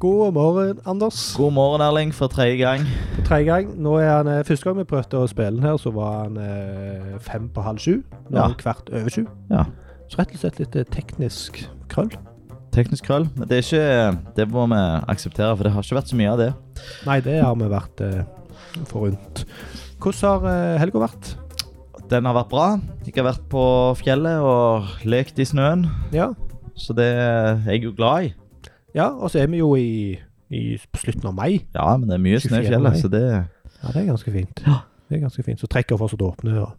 God morgen, Anders. God morgen, Erling, for tredje gang. For tredje gang. Nå er han, eh, første gang vi prøvde å spille den her, så var han eh, fem på halv sju. Nå Ja. er han kvart over sju. Ja. Så rett og slett litt eh, teknisk krøll. Teknisk krøll. Men det er ikke Det må vi akseptere, for det har ikke vært så mye av det. Nei, det har vi vært eh, forunt. Hvordan har eh, helga vært? Den har vært bra. Jeg har vært på fjellet og lekt i snøen, Ja, så det er jeg jo glad i. ja og så er vi jo i, i, på slutten av mai. Ja, men det er mye snø i 24. fjellet, så det Ja, det er ganske fint. Ja. Det er ganske fint. Så trekker vi fortsatt åpne. Og,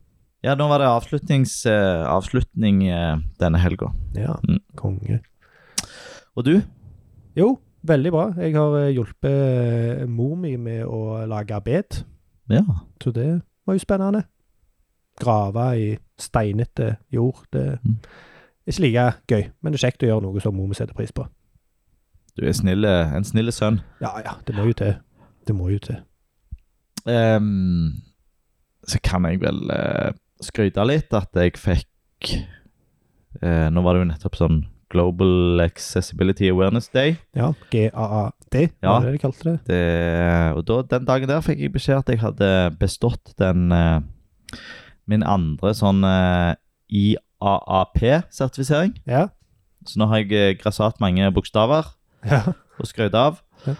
Ja, nå var det avslutnings, eh, avslutning eh, denne helga. ja, Mm. konge. Og du? Jo, veldig bra. Jeg har eh, hjulpet eh, mor mi med å lage bed, Ja. så det var jo spennende. Grave i steinete jord, det er Mm. ikke like gøy, men det er kjekt å gjøre noe som mor mi setter pris på. Du er snille, en snille sønn. Ja ja, det må jo til. Det må jo til. Ehm, så kan jeg vel eh, skryte litt at jeg fikk eh, Nå var det jo nettopp sånn Global Accessibility Awareness Day. Ja, GAAD, Ja. var det de kalte det? Det, og da, den dagen der fikk jeg beskjed at jeg hadde bestått den eh, min andre sånn eh, IAAP-sertifisering. Ja. Så nå har jeg eh, grassat mange bokstaver ja. å skryte av. Ja.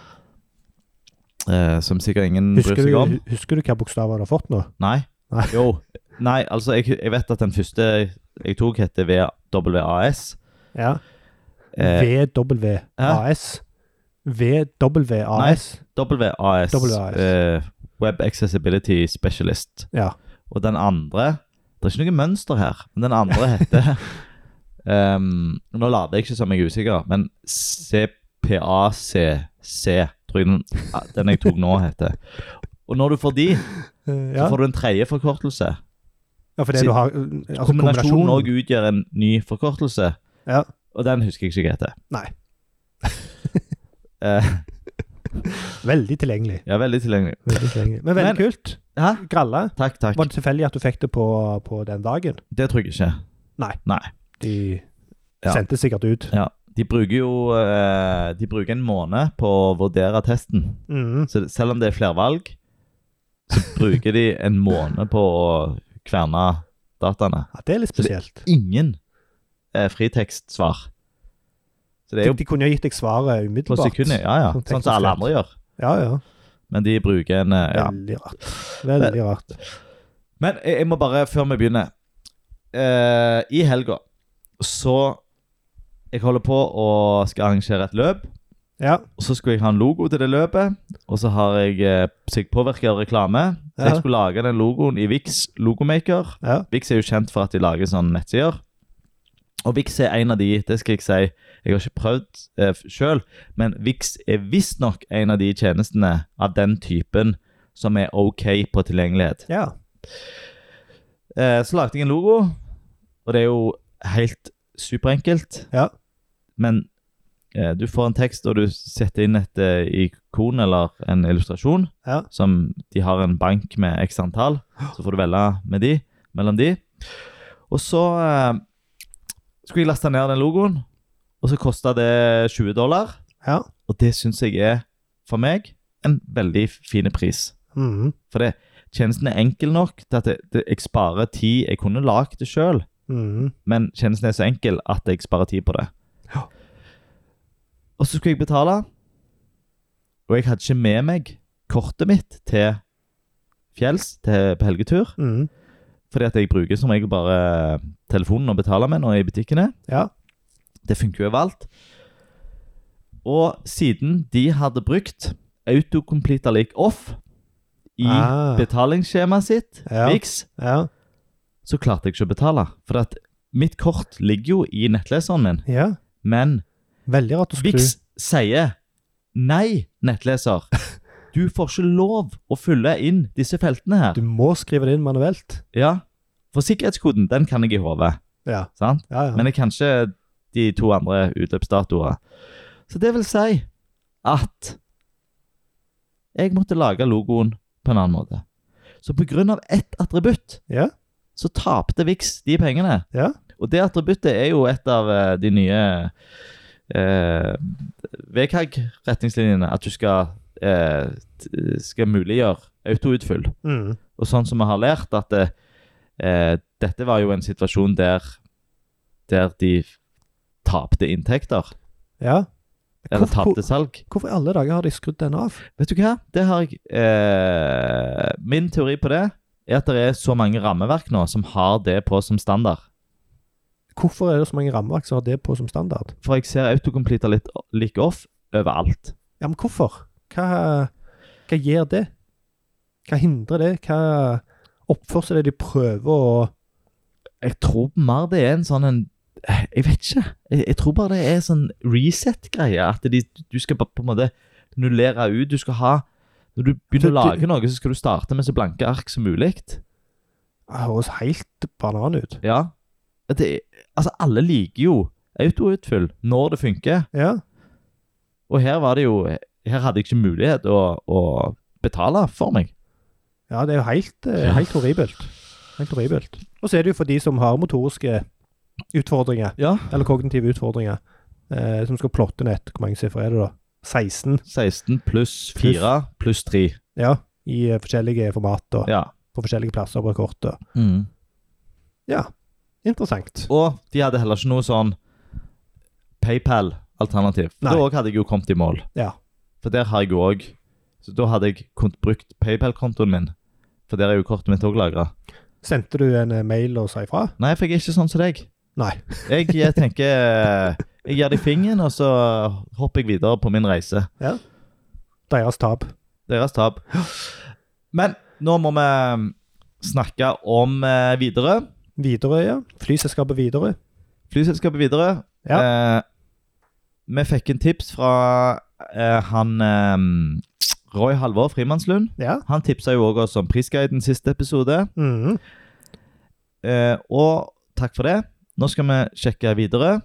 Eh, som sikkert ingen Husker, bryr seg om. du, husker du hva bokstaver du har fått nå? Nei. Nei. Jo. Nei, altså, jeg, jeg vet at den første jeg tok, heter VWAS. Ja. Eh, VWAS. VWAS. WAS. WAS. Eh, Web Accessibility Specialist. Ja. Og den andre Det er ikke noe mønster her, men den andre heter ehm, Nå later jeg ikke som jeg er usikker, men CPACC, tror jeg den, den jeg tok nå, heter. Og når du får de, Eh, så Ja, får du en tredje forkortelse. ja for det si- du har eh, altså, Kombinasjonen òg utgjør en ny forkortelse. Ja. Og den husker jeg ikke hva heter. Nei. Eh, Veldig tilgjengelig. ja, veldig tilgjengelig. Veldig tilgjengelig. Men veldig Men- kult. Hæ? Gralle. Takk, takk. Var det tilfeldig at du fikk det på, på den dagen? Det tror jeg ikke. Nei. Nei. De Ja. sendte sikkert ut. Ja. De bruker jo eh, De bruker en måned på å vurdere testen. Mhm. Så det- selv om det er flervalg, så bruker de en måned på å kverne dataene. Ja, det er litt Så det- spesielt. Ingen eh, fritekstsvar. Så det er De, jo de kunne jo gitt deg svaret på umiddelbart. sekundet. Ja, ja. Sånn Sånn som alle teknisk andre gjør. Ja, ja. Men de bruker en eh, ja. Veldig rart. Veldig rart. Men jeg, jeg må bare, før vi begynner eh, I helga så Jeg holder på og skal arrangere et løp. Ja. Og så skulle jeg ha en logo til det løpet. Og så har jeg eh, så jeg påvirket av reklame. Så Ja. jeg skulle lage den logoen i Vix Logomaker. ja. Vix er jo kjent for at de lager sånne nettsider. Og Vix er en av de, det skal jeg si. Jeg har ikke prøvd eh, sjøl, men Vix er visstnok en av de tjenestene av den typen som er OK på tilgjengelighet. Ja. Eh, så lagde jeg en logo, og det er jo helt superenkelt. Ja. Men eh, du får en tekst, og du setter inn et eh, ikon eller en illustrasjon. Ja. Som de har en bank med x antall, så får du velge med de, mellom de. Og så eh, skulle jeg laste ned den logoen, og så kosta det 20 dollar. ja. Og det syns jeg er, for meg, en veldig fin pris. Mhm. For det, tjenesten er enkel nok til at det, det, jeg sparer tid. Jeg kunne lagd det sjøl, Mhm. men tjenesten er så enkel at jeg sparer tid på det. Ja. Og så skulle jeg betale, og jeg hadde ikke med meg kortet mitt til fjells, til på helgetur, Mhm. fordi at jeg bruker som regel bare eh, telefonen å betale med når jeg er i butikkene. Ja. Det funker jo overalt. Og siden de hadde brukt autocomplete lik off i Ah. betalingsskjemaet sitt, Ja. Vix, ja. så klarte jeg ikke å betale. For at mitt kort ligger jo i nettleseren min, Ja. men Veldig rart å skru. Vix sier nei, nettleser. Du får ikke lov å fylle inn disse feltene her. Du må skrive det inn manuelt. Ja, For sikkerhetskoden, den kan jeg i hodet, Ja. sant? Ja, ja. Men jeg kan ikke de to andre utløpsdatoer. Så det vil si at jeg måtte lage logoen på en annen måte. Så på grunn av ett attributt Ja. så tapte Vix de pengene. Ja. Og det attributtet er jo et av eh, de nye eh, VKG-retningslinjene at du skal, eh, t- skal muliggjøre autoutfyll. Mm. Og sånn som vi har lært, at eh, eh, dette var jo en situasjon der, der de tapte inntekter, Ja. eller Hvorfor- tapte salg. Hvorfor i alle dager har de skrudd den av? Vet du hva? Det har jeg eh, Min teori på det er at det er så mange rammeverk nå som har det på som standard. Hvorfor er det så mange rammeverk som har det på som standard? For jeg ser autocompleter litt like off overalt. Ja, men hvorfor? Hva, hva gjør det? Hva hindrer det? Hva oppførsel er det de prøver å Jeg tror mer det er en sånn en Jeg vet ikke. Jeg, jeg tror bare det er sånn reset-greie. At de, du skal bare på en måte nullere ut. Du skal ha Når du Du- begynner å du- lage noe, så skal du starte med så blanke ark som mulig. Det høres helt banan ut. Ja. Det, altså, alle liker jo autoutfyll når det funker. Ja. Og her var det jo Her hadde jeg ikke mulighet å, å betale for meg. ja, det er jo helt, eh, helt horribelt. Helt horribelt. Og så er det jo for de som har motoriske utfordringer, Ja. eller kognitive utfordringer, eh, som skal plotte nett. Hvor mange sifre er det da? 16, 16 pluss 4 pluss 3. ja. I eh, forskjellige format og Ja. på forskjellige plasser på kortet. Ja, interessant. Og de hadde heller ikke noe sånn PayPal-alternativ. For Nei. Da også hadde jeg jo kommet i mål. Ja. For der har jeg jo òg Så da hadde jeg kun brukt PayPal-kontoen min. For der er jo kortet mitt òg lagra. Sendte du en eh, mail og sa ifra? Nei, for jeg er ikke sånn som deg. Nei. Jeg, jeg tenker eh, Jeg gir deg fingeren, og så hopper jeg videre på min reise. Deres tap. Deres tap. Men nå må vi snakke om eh, Widerøe. Widerøe, ja. Flyselskapet Widerøe. Flyselskapet Widerøe. Eh, vi fikk en tips fra eh, han eh, Roy Halvor Frimannslund. Ja. Han tipsa jo også oss om Prisguiden siste episode, Mhm. eh, og takk for det. Nå skal vi sjekke Widerøe,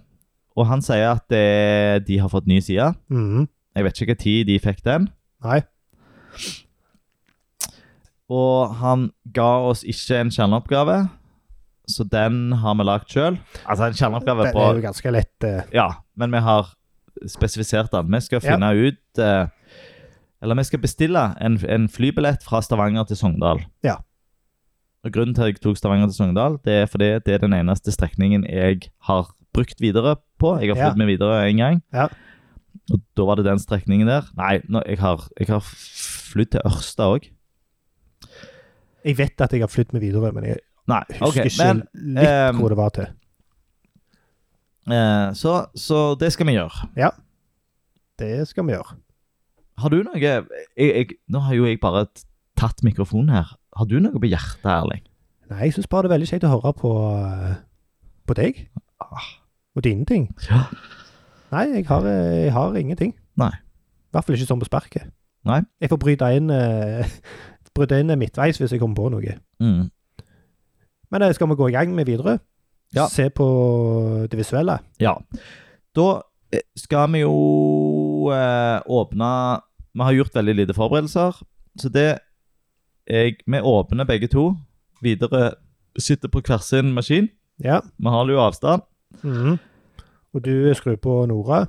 og han sier at eh, de har fått ny side. Mhm. Jeg vet ikke hva tid de fikk den. Nei. Og han ga oss ikke en kjerneoppgave, så den har vi lagd sjøl. Altså en kjerneoppgave Den på er jo ganske lett. eh, Ja, men vi har spesifisert den. Vi skal Ja. finne ut eh, Eller vi skal bestille en, en flybillett fra Stavanger til Sogndal. Ja. Og Grunnen til at jeg tok Stavanger til Sogndal, det er fordi det er den eneste strekningen jeg har brukt videre på. Jeg har Ja. flydd med videre en gang. Ja. Og da var det den strekningen der. Nei, nå, jeg har, jeg har flydd til Ørsta òg. Jeg vet at jeg har flyttet med Widerøe, men jeg Nei, husker ok. ikke Men litt ehm, hvor det var til. eh, så, så det skal vi gjøre. Det skal vi gjøre. Har du noe jeg, jeg, Nå har jo jeg bare t- tatt mikrofonen her. Har du noe på hjertet, Erling? Nei, jeg syns bare det er veldig kjekt å høre på, eh, på deg. Ah. Og dine ting. Ja. Nei, jeg har, eh, jeg har ingenting. Nei. I hvert fall ikke sånn på sparket. Nei. Jeg får bryte inn, eh, bryte inn midtveis hvis jeg kommer på noe. Mm. Men eh, skal vi gå i gang med Widerøe? Ja. Se på det visuelle. Ja. Da eh, skal vi jo eh, åpne Vi har gjort veldig lite forberedelser, så det jeg, Vi åpner begge to. Videre sitter på hver sin maskin. Ja. Vi har jo avstand. Mhm. Og du skrur på Nora.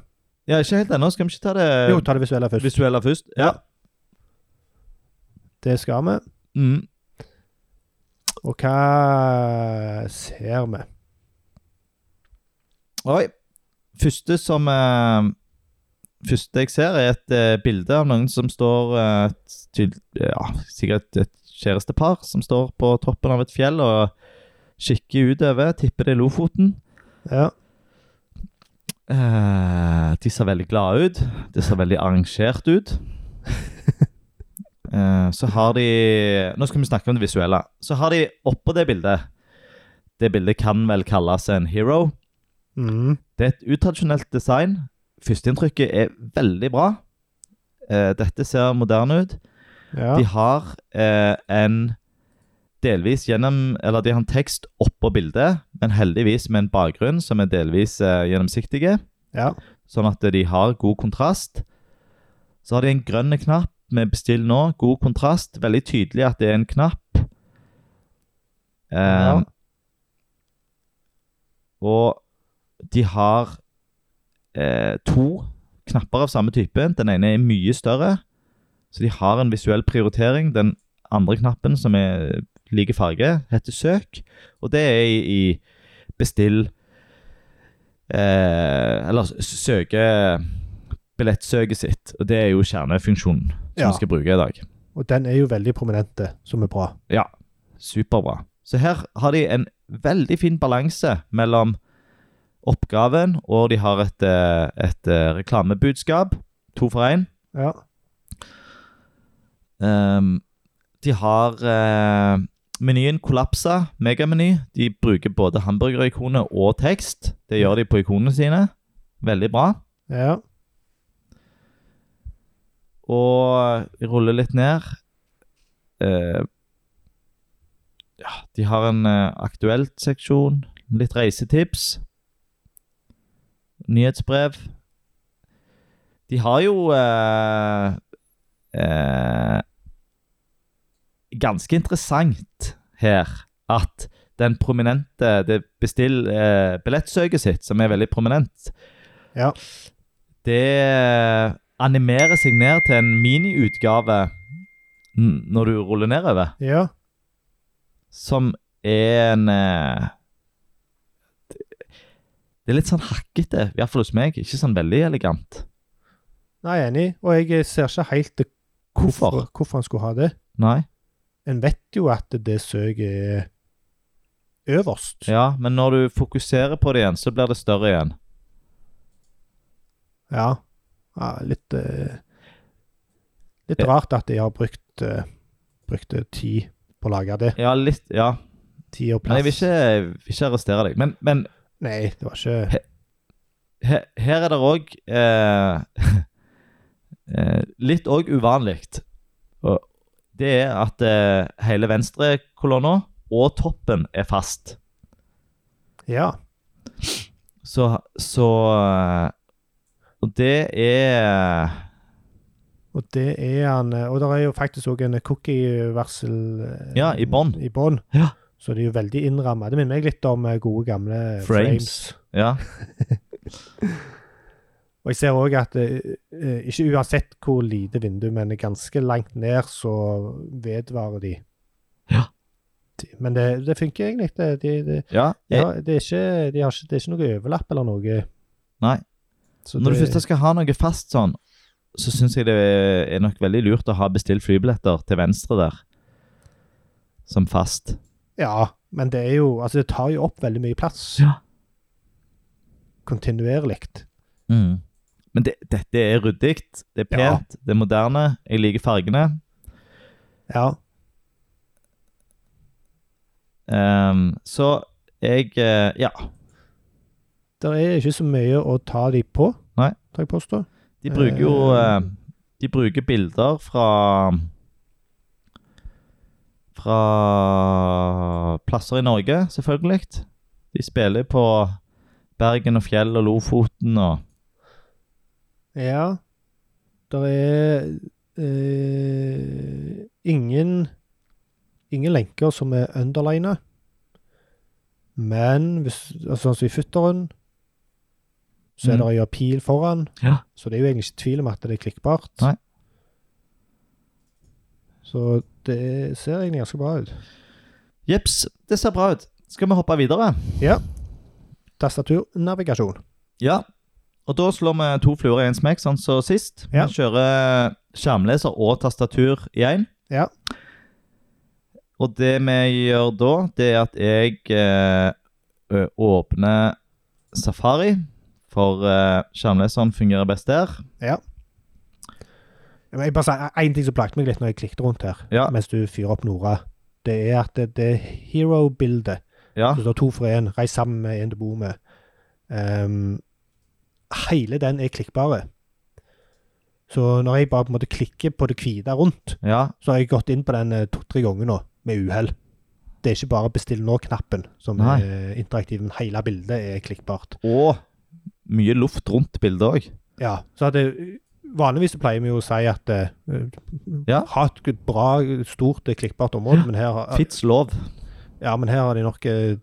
Ja, ikke helt ennå. Skal vi ikke ta det Jo, ta det visuelle først. visuelle først? Ja. Det skal vi. Mm. Og hva ser vi? Oi. Første som eh, Første jeg ser, er et eh, bilde av noen som står eh, til, ja, Sikkert et kjærestepar som står på toppen av et fjell og kikker utover. Tipper det er Lofoten. Ja. Eh, de ser veldig glade ut. Det ser veldig arrangert ut. Eh, så har de Nå skal vi snakke om det visuelle. Så har de oppå det bildet Det bildet kan vel kalles en hero. Mhm. Det er et utradisjonelt design. Førsteinntrykket er veldig bra. Eh, dette ser moderne ut. ja. De har eh, en delvis gjennom Eller de har en tekst oppå bildet, men heldigvis med en bakgrunn som er delvis eh, gjennomsiktige. ja. Sånn at de har god kontrast. Så har de en grønn knapp med 'bestill nå'. God kontrast. Veldig tydelig at det er en knapp. Eh, Ja. Og de har eh, to knapper av samme type. Den ene er mye større, så de har en visuell prioritering. Den andre knappen, som er like farge, heter søk, og det er i, i bestill eh, Eller s- søke billettsøket sitt, og det er jo kjernefunksjonen som Ja. vi skal bruke i dag. Og den er jo veldig prominente, som er bra. Ja, superbra. Så her har de en veldig fin balanse mellom oppgaven, og de har et, eh, et eh, reklamebudskap. To for én. Ja. Ehm, de har eh, menyen kollapsa, megameny. De bruker både hamburgerikonet og tekst. Det gjør de på ikonene sine. Veldig bra. ja. Og rulle litt ned. Eh, ja, de har en eh, aktuelt seksjon, litt reisetips, nyhetsbrev. De har jo eh, eh, Ganske interessant her at den prominente det bestill eh, billettsøket sitt, som er veldig prominent, Ja. det eh, animerer seg ned til en miniutgave n- når du ruller nedover, ja. som er en eh, Det er litt sånn hakkete, i hvert fall hos meg. Ikke sånn veldig elegant. Nei, jeg er enig. Og jeg eh, ser ikke helt det- Hvorfor? hvorfor han skulle ha det. Nei. En vet jo at det søket er øverst. Ja, men når du fokuserer på det igjen, så blir det større igjen. Ja. ja litt eh, Litt Ja. rart at de har brukt, eh, brukt eh, tid på å lage det. Ja, litt Ja. Tid og plass. Men jeg vil ikke, jeg vil ikke arrestere deg. Men, men Nei, det var ikke he- her er det òg eh, eh, Litt òg uvanlig. Og Det er at eh, hele venstrekolonna og toppen er fast. Ja. Så, så eh, Og det er Og det er han eh, Og det er jo faktisk òg en cookie-varsel eh, Ja, i bånn. i bånn. Ja. Så det er jo veldig innramma. Det minner meg litt om eh, gode, gamle frames. Frames. Ja. Og jeg ser òg at eh, eh, ikke uansett hvor lite vindu, men ganske langt ned, så vedvarer de. Ja. De- Men det, det funker egentlig. Det, de, de, ja. de har, det, er ikke, de har ikke, det er ikke noe overlapp eller noe. Nei. Så Når du det- først skal ha noe fast sånn, så syns jeg det er nok veldig lurt å ha bestilt flybilletter til venstre der, som fast. Ja, men det er jo Altså, det tar jo opp veldig mye plass. Ja. Kontinuerlig. Men det- dette er ryddig, det er Mm. Ja. pent, det er moderne, jeg liker fargene. Ja. Ehm, så jeg eh, Ja. Det er ikke så mye å ta de på, Nei. tar jeg påstå. De bruker jo Eh. eh, De bruker bilder fra Fra plasser i Norge, selvfølgelig. De spiller på Bergen og Fjell og Lofoten og Ja. Det er eh, ingen ingen lenker som er underlina. Men hvis, altså, sånn som i futteren, så er Mm. det jo pil foran. Ja. Så det er jo egentlig ikke tvil om at det er klikkbart. Nei. Så det ser egentlig ganske bra ut. Jeps, det ser bra ut. Skal vi hoppe videre? Tastaturnavigasjon. Ja. Og da slår vi to fluer i én smekk, sånn som sist. Ja. Vi kjører skjermleser og tastatur i én. Ja. Og det vi gjør da, det er at jeg eh, ø, åpner Safari, for eh, skjermleseren fungerer best der. Men Jeg bare sier, En ting som plagte meg litt når jeg klikket rundt her, Ja. mens du fyrer opp Nora, det er at det, det hero-bildet Ja, som står to for én, reis sammen med en du bor med ehm, Hele den er klikkbare. Så når jeg bare på en måte klikker på det hvite rundt, ja, så har jeg gått inn på den eh, to-tre ganger nå, med uhell. Det er ikke bare 'bestill nå'-knappen som Nei. er interaktiv, men hele bildet er klikkbart. og mye luft rundt bildet òg. Ja, så at det, vanligvis så pleier vi jo å si at eh, Ja. ha et bra, stort, eh, klikkbart område, men her, har- Fitz lov ja, men her har de nok eh,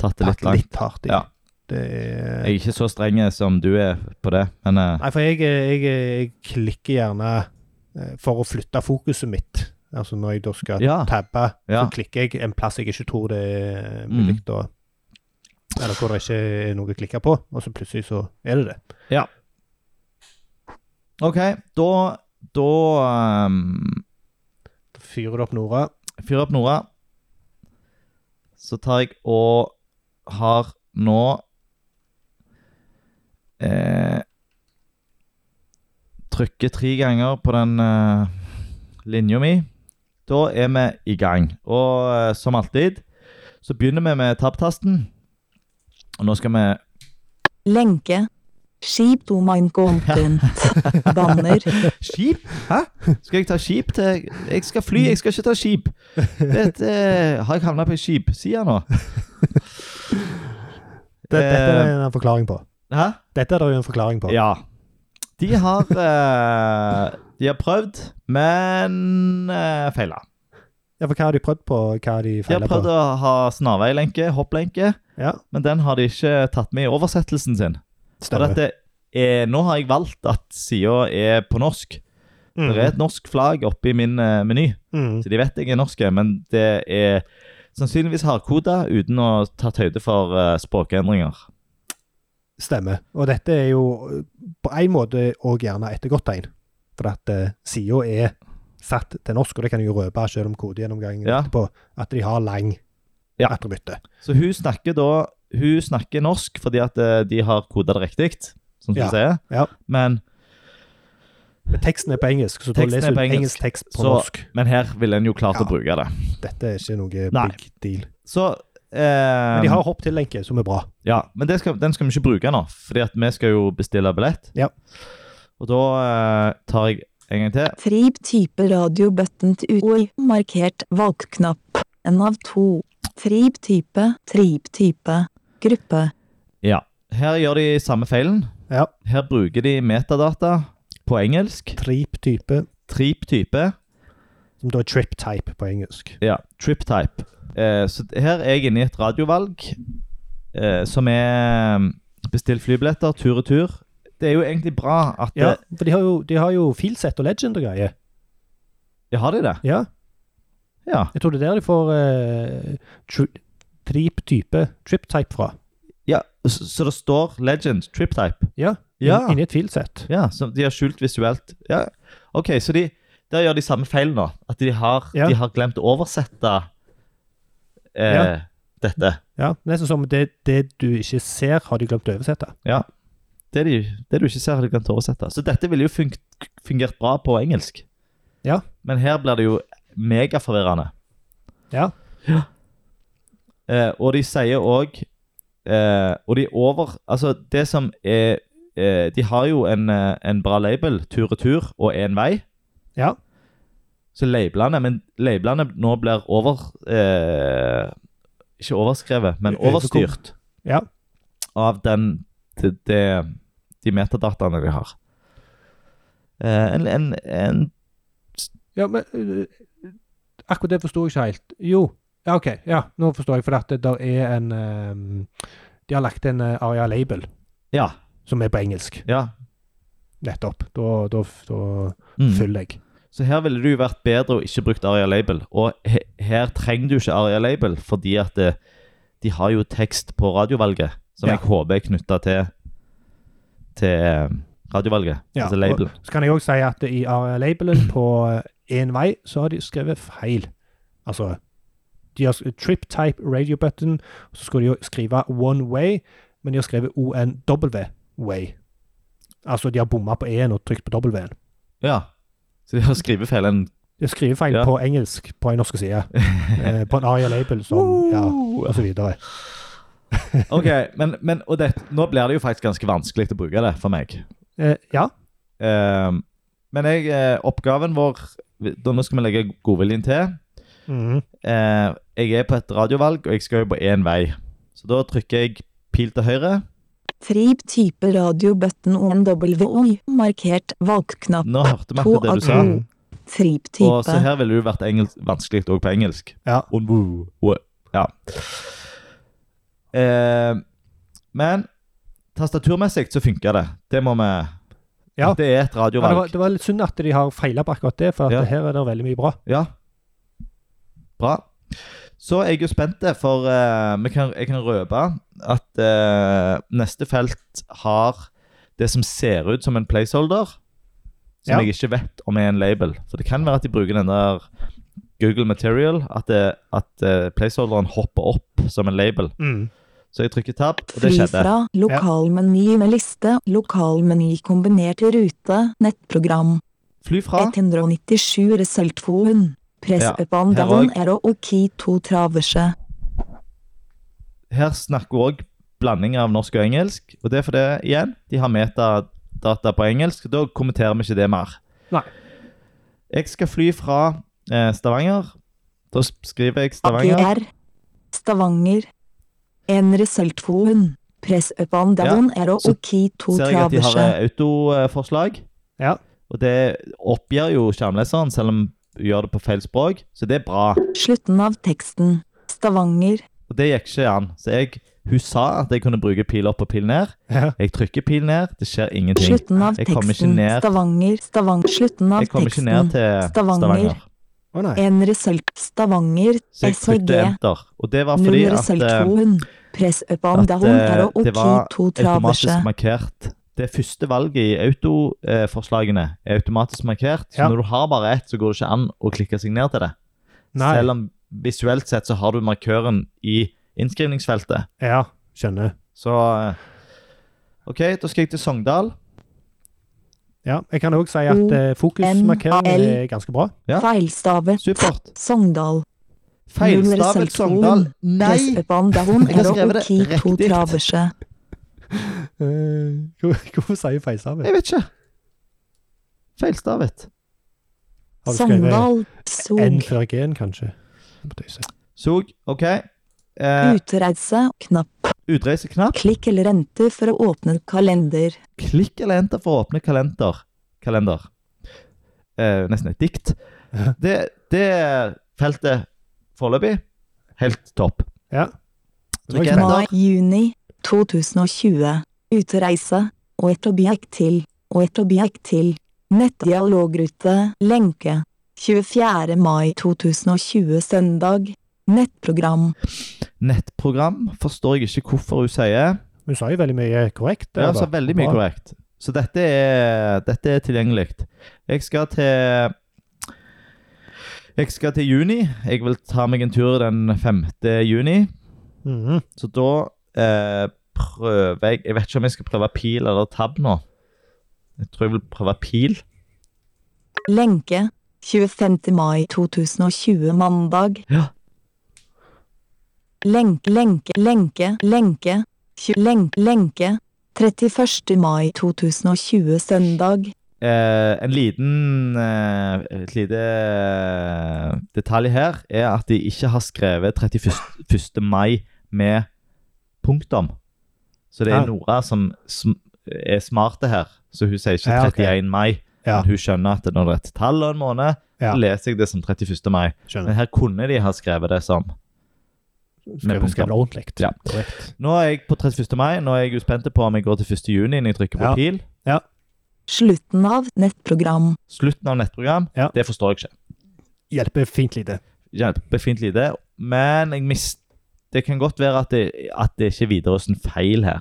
tatt det tatt litt langt. litt hardt i. Ja. Det er Jeg er ikke så streng som du er på det, men eh, Nei, for jeg, jeg, jeg klikker gjerne eh, for å flytte fokuset mitt. Altså når jeg da skal Ja. tabbe, så Ja. Mm. klikker jeg en plass jeg ikke tror det er mulig å Eller hvor det ikke er noe å klikke på, og så plutselig så er det det. OK, da, da ehm, Da fyrer det opp Nora. Fyr opp Nora. Så tar jeg og har nå eh, Trykker tre ganger på den eh, linja mi. Da er vi i gang. Og eh, som alltid så begynner vi med tab-tasten. Og nå skal vi Lenke. Skip to mine content. Banner. Skip? Hæ? Skal jeg ta skip til Jeg skal fly, jeg skal ikke ta skip. Dette, har jeg havna på ei skipside nå? Det, dette er det en forklaring på. Eh, Hæ? Dette er det jo en forklaring på. Ja. De har, eh, de har prøvd, men uh, feila. Ja, for hva har de prøvd på? Hva har de De har feilet på? prøvd å ha snarveilenke, hopplenke, Ja, men den har de ikke tatt med i oversettelsen sin. Og stemmer. dette er, nå har jeg valgt at sida er på norsk. Mm. Det er et norsk flagg oppi min eh, meny, Mm. så de vet jeg er norsk, men det er sannsynligvis hardkoda uten å tatt høyde for eh, språkendringer. Stemmer. Og dette er jo eh, på en måte òg gjerne ettergått tegn. For at uh, sida er satt til norsk, og det kan jeg jo røpe selv om kodegjennomgangen Ja. etterpå, at de har lang Ja. etterbytte. Så hun snakker da Hun snakker norsk fordi at eh, de har koda det riktig, som du Ja, sier. ja. Men, Men teksten er på engelsk, så da Teksten er leser du på engelsk. engelsk. tekst på Så- norsk. men her ville en jo klart Ja. å bruke det. Dette er ikke noe Nei. big deal. Så Men eh, de har hopp til lenke, som er bra. Ja, men det skal, den skal vi ikke bruke nå, fordi at vi skal jo bestille billett. Ja. Og da eh, tar jeg en gang til. Trip type radio button to UI. Markert valgknapp. En av to. Trip type. Trip type. Gruppe. Ja. Her gjør de samme feilen. Ja. Her bruker de metadata på engelsk. Trip-type, Trip-type. som da er trip-type på engelsk. Ja, trip type. Eh, så her er jeg inne i et radiovalg eh, som er mm, bestilt flybilletter tur-retur. Det er jo egentlig bra at eh, Ja, det, for de har jo, de har jo filset og legend og greier. ja, Har de det? Ja, Ja. jeg tror det er der de får eh, tri trip-type, trip-type fra. ja så, så det står legend, trip type. Ja, Ja, Inni et filsett. ja så de har skjult visuelt. Ja. OK, så de, der gjør de samme feil nå. At de har, Ja. de har glemt å oversette eh, Ja. dette. Ja, Nesten som det, det du ikke ser, har de glemt å oversette. Ja. Det, de, det du ikke ser, har de glemt å oversette. Så dette ville jo fung fungert bra på engelsk. Ja. Men her blir det jo megaforvirrende. Ja. Eh, og de sier òg eh, Og de over Altså, det som er eh, De har jo en, eh, en bra label, tur-retur, og én vei. Ja. Så labelene Men labelene nå blir over eh, Ikke overskrevet, men Overkom- overstyrt Ja. av den det, det, de metadataene de har. Eh, en, en, en ja men øh, akkurat det forsto jeg ikke helt. Jo, ja, OK. Ja, nå forstår jeg, for at det der er en ehm, De har lagt en eh, Aria Label Ja. som er på engelsk, ja. nettopp. Da, da, da Mm. følger jeg. Så her ville det jo vært bedre å ikke brukt Aria Label. Og he her trenger du ikke Aria Label, fordi at det, de har jo tekst på radiovalget, som Ja. jeg håper er knytta til, til eh, radiovalget. Ja, altså label. Så kan jeg òg si at i Aria Labelen på én vei, så har de skrevet feil. Altså De har sk- trip type radio button, så skulle de jo skrive one way, men de har skrevet ONW way. Altså de har bomma på E-en og trykt på W-en. Ja. Så de har skrivefeil. en- De skriver feil Ja. på engelsk på en norsk side. eh, på en Aria Label som Ja, og så videre. OK, men, men og det, nå blir det jo faktisk ganske vanskelig å bruke det for meg. Eh, ja. Eh, men jeg, eh, oppgaven vår da Nå skal vi legge godviljen til. Mhm. Eh, jeg er på et radiovalg, og jeg skal jo på én vei. Så da trykker jeg pil til høyre. Trip type radio button on WI. Markert valgknapp. Nå hørte vi To akkurat det av du sa. Mm. to. Trip Og så type. her ville det jo vært engelsk, vanskelig òg på engelsk. Ja. Og- og- og- ja. Eh, Men tastaturmessig så funker det. Det må vi Ja. Det er et Ja, det, var, radiovalg. det var litt synd at de har feila på akkurat det, for at Ja. her er det veldig mye bra. Ja. Bra. Så er jeg jo spent, eh, for eh, vi kan, jeg kan røpe at eh, neste felt har det som ser ut som en placeholder, som Ja. jeg ikke vet om er en label. Så det kan være at de bruker den der Google Material, at, det, at eh, placeholderen hopper opp som en label. Så jeg trykker tab, og det Fri skjedde. fra lokalmeny med liste, lokalmeny kombinert rute, nettprogram, Fly fra. 197 resultfoen, press Ja, up on her down også. arrow og key to traverse. Her snakker vi òg blanding av norsk og engelsk. Og det er fordi, igjen, de har metadata på engelsk. Da kommenterer vi ikke det mer. Nei. Jeg skal fly fra eh, Stavanger. Da s- skriver jeg Stavanger. AGR, Stavanger, en resultfoen, press up on down arrow så og key to Ser jeg at de har traverse. eh, autoforslag. Ja. Og det oppgir jo skjermleseren, selv om vi gjør det på feil språk. Så det er bra. Slutten av teksten, Stavanger, Og det gikk ikke an. Så jeg, hun sa at jeg kunne bruke pil opp og pil ned. Ja. Jeg trykker pil ned, det skjer ingenting. slutten av Jeg kommer ikke teksten, ned. Stavanger, Stavanger, slutten av Jeg kommer ikke ned teksten, til Stavanger. Stavanger. Å nei. en result, Stavanger, Så jeg trykte SHG. enter. Og det var fordi Null at, eh, resultfoen, press up on at down arrow eh, og det key var to traverse. automatisk markert. Det første valget i autoforslagene er automatisk markert. Så Ja. når du har bare ett, så går det ikke an å klikke seg ned til det. nei. Selv om visuelt sett så har du markøren i innskrivningsfeltet. Ja, skjønner. Så eh, OK, da skal jeg til Sogndal. Ja, jeg kan òg si at eh, fokusmarkeringen O-N-A-L. er ganske bra. Ja. Feilstavet Supert. Sogndal. Feilstavet Sogndal. Press Nei! up on down Jeg har arrow skrevet og det key to riktig. traverse. Eh, hvor- Hvorfor sier feilstavet? Jeg vet ikke. Feilstavet. Har du skrevet Sogndal. N Sog. før G-en, kanskje? Må tøyse. Sog. OK. Eh, Utreise. Knapp. Utreiseknapp. Klikk eller enter for å åpne kalender. Klikk eller enter for å åpne kalender. Kalender. Eh, nesten et dikt. Det, det feltet foreløpig helt topp. Ja. Det var Trykk ikke enter. bra. Mai, juni 2020. Utreise. Og et objekt til. Og et objekt til. Nettdialogrute. Lenke. 24. mai 2020 søndag. Nettprogram. Nettprogram forstår jeg ikke hvorfor hun sier. Hun sa jo veldig mye korrekt. Det er altså da. veldig mye Bra. korrekt. Så dette er, dette er tilgjengelig. Jeg skal til Jeg skal til juni. Jeg vil ta meg en tur den 5. juni. Mhm. Så da eh, prøver jeg Jeg vet ikke om jeg skal prøve pil eller tab nå. Jeg tror jeg vil prøve pil. Lenke. 25. mai 2020 mandag. Ja. Lenke, lenke, lenke, lenke. Tju- Lenke, lenke. 31. mai 2020 søndag. Eh, en liten eh, Et lite eh, detalj her er at de ikke har skrevet 31. 1. mai med punktum. Så det er Ja. Nora som, som er smarte her. Så hun sier ikke Ja, 31. ok. mai. Ja. Men hun skjønner at når det er et tall og en måned, Ja. så leser jeg det som 31. mai. Skjønner. Men her kunne de ha skrevet det som Skrev, skrev det ordentlig. Ja. Korrekt. Nå er jeg på 31. mai. Nå er jeg uspent på om jeg går til 1. juni når jeg trykker på Ja. pil. Slutten av nettprogram. Slutten av nettprogram. Ja. Det forstår jeg ikke. Hjelper fint lite. Kjempefint lite. Men jeg mist... det kan godt være at det, at det ikke er Widerøes feil her.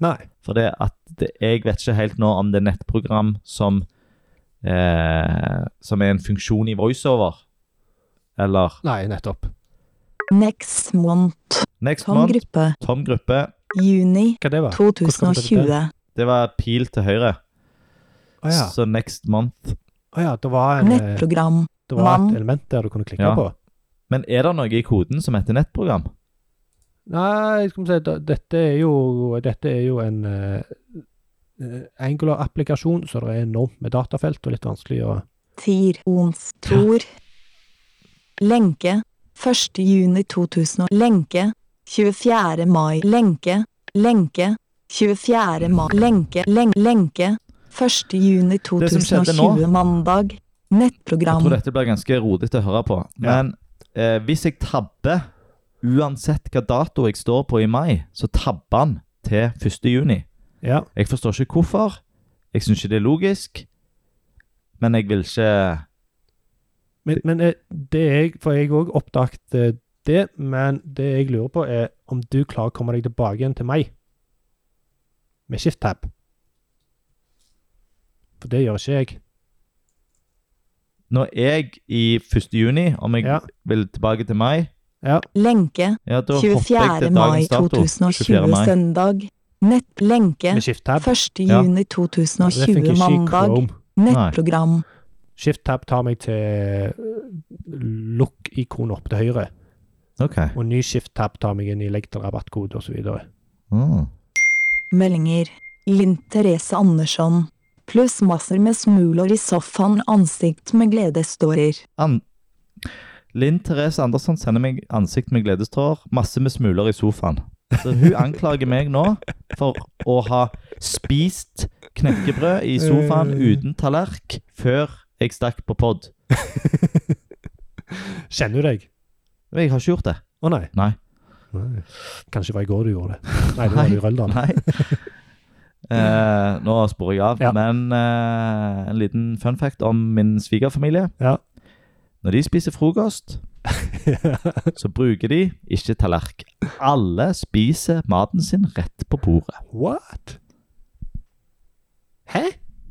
Nei. For det at det, jeg vet ikke helt nå om det er nettprogram som eh, Som er en funksjon i voiceover. Eller Nei, nettopp. Next month. Next Tom month, gruppe. Tom Gruppe. Juni Hva det var? Hvordan kom det 2020. Det var pil til høyre. Å ja. Så next month. Å ja. Det var, en, eh, Nettprogram. det var mann. et element der du kunne klikke Ja. på. Men er det noe i koden som heter nettprogram? Nei, skal vi si, da- dette er jo, dette er jo en eh, eh, Angular-applikasjon, så det er enormt med datafelt og litt vanskelig å Tier. Ons. Tor. Lenke. 1. juni 2000. Lenke. 24. mai. Lenke. Lenke. 24. mai. Lenke. Lenke. lenke. 1. juni Det som skjedde 2020 mandag. Jeg tror Nettprogram. dette blir ganske rodete å høre på. Ja. Men eh, hvis jeg tabber, uansett hva dato jeg står på i mai, så tabber han til 1. juni. Ja. Jeg forstår ikke hvorfor. Jeg syns ikke det er logisk. Men jeg vil ikke Men, men eh, det jeg For jeg òg oppdaget eh, det, men det jeg lurer på, er om du klarer å komme deg tilbake igjen til meg med shift-tab. For det gjør ikke jeg. Når jeg i 1. juni, om jeg Ja. vil tilbake til mai Lenke ja, da hopper jeg 24. til mai dagens dato. 2020 søndag. Nettlenke Med shift-tab. 1. Ja. Ja, juni det 2020 funker ikke i mandag. Chrome. Nettprogram. Shift-tab tar meg til eh, lukk-ikonet oppe til høyre, Ok. og ny shift-tab tar meg inn i legg til rabattkode osv. Mm. Meldinger. Linn Therese Andersson. Pluss masser med smuler i sofaen, ansikt med gledestårer. An Linn Therese Andersson sender meg ansikt med gledestårer, masse med smuler i sofaen. Så hun anklager meg nå for å ha spist knekkebrød i sofaen Eh. uten tallerk før jeg stakk på pod. Kjenner du deg? Men Jeg har ikke gjort det. Å nei. Nei. Nei. Kanskje det var i går du gjorde det. Nei, det var Nei. i Røldal. Nei. Eh, nå sporer jeg av, Ja. men eh, en liten fun fact om min svigerfamilie. Ja. Når de spiser frokost, så bruker de ikke tallerk. Alle spiser maten sin rett på bordet. What? Hæ?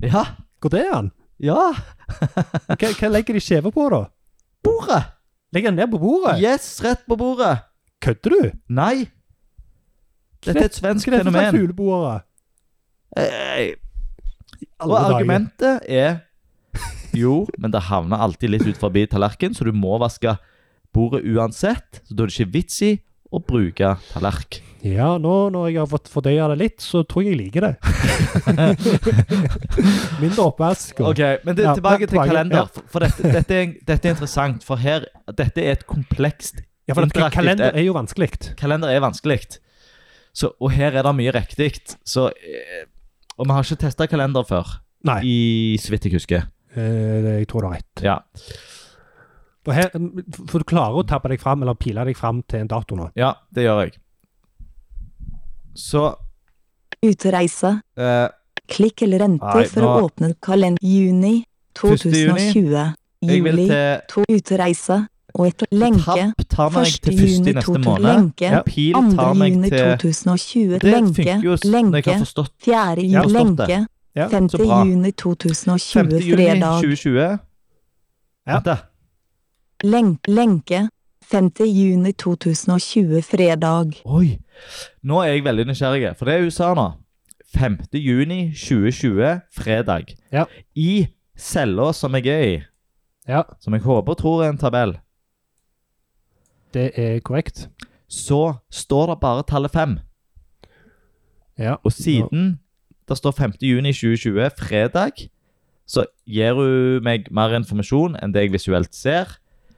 Ja, Går det an? ja, Hva, hva legger de skjeve på, da? bordet! Legger den ned på bordet? Yes, rett på bordet! Kødder du? Nei, dette er et svensk Hva er dette for fenomen. fugleboere? Eh, Alle Og dager. argumentet er Jo, men det havner alltid litt ut forbi tallerken, så du må vaske bordet uansett. Så da er det ikke vits i å bruke tallerk. Ja, nå når jeg har fått fordøya det litt, så tror jeg jeg liker det. Mindre oppvask. og- Ok, Men det, Ja, tilbake til tilbake, ja. kalender. For, for dette, dette, er, dette er interessant, for her Dette er et komplekst Ja, for dette, interaktivt kalender er- er jo vanskelig. Kalender er vanskelig. Så, og her er det mye riktig. Så eh, Og vi har ikke testa kalender før, Nei, i så vidt jeg husker. eh, det- jeg tror det er rett. Ja. For, her, mm, for du klarer å tabbe deg fram, eller pile deg fram til en dato nå. ja, det gjør jeg. Så Utreise. eh, Klikk eller renter Nei, for å nå- åpne kalender. Juni 2020. Jeg vil Juli til to utreise og et lenke. Tapp tar meg 1. til først juni i neste 2000 måned. lenke. Ja. Pil 2. tar meg juni til 2020 Det lenke. funker jo s- når jeg Lenke. har forstått. 4. Ja, juni forstått det. lenke. Ja, 5. så bra. juni 5. 2020 juni fredag. 2020. Ja. Vent da. Lenk, lenke. 5. juni 2020 fredag. Oi. Nå er jeg veldig nysgjerrig, for det er USA nå. 5. juni 2020, fredag. Ja. I cella som jeg er i, Ja, som jeg håper og tror er en tabell, det er korrekt. så står det bare tallet 5. Ja. Og siden det står 5. juni 2020, fredag, så gir hun meg mer informasjon enn det jeg visuelt ser.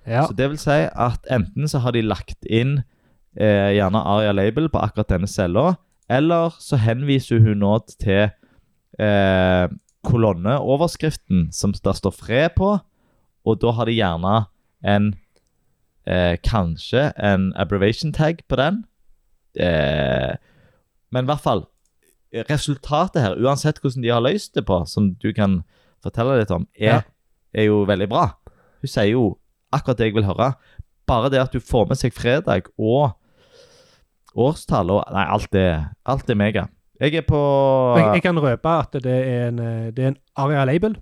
Ja. Så det vil si at enten så har de lagt inn eh, gjerne Aria Label på akkurat denne cella, eller så henviser hun nå til eh, kolonneoverskriften som der står fred på, og da har de gjerne en eh, kanskje en abbreviation tag på den. Eh, men i hvert fall resultatet her, uansett hvordan de har løst det på, som du kan fortelle litt om, Ja. er, er jo veldig bra. Hun sier jo akkurat det jeg vil høre. Bare det at du får med seg fredag og årstall og Nei, alt er, alt er mega. Jeg er på Jeg, jeg kan røpe at det er en, eh, det er en Aria Label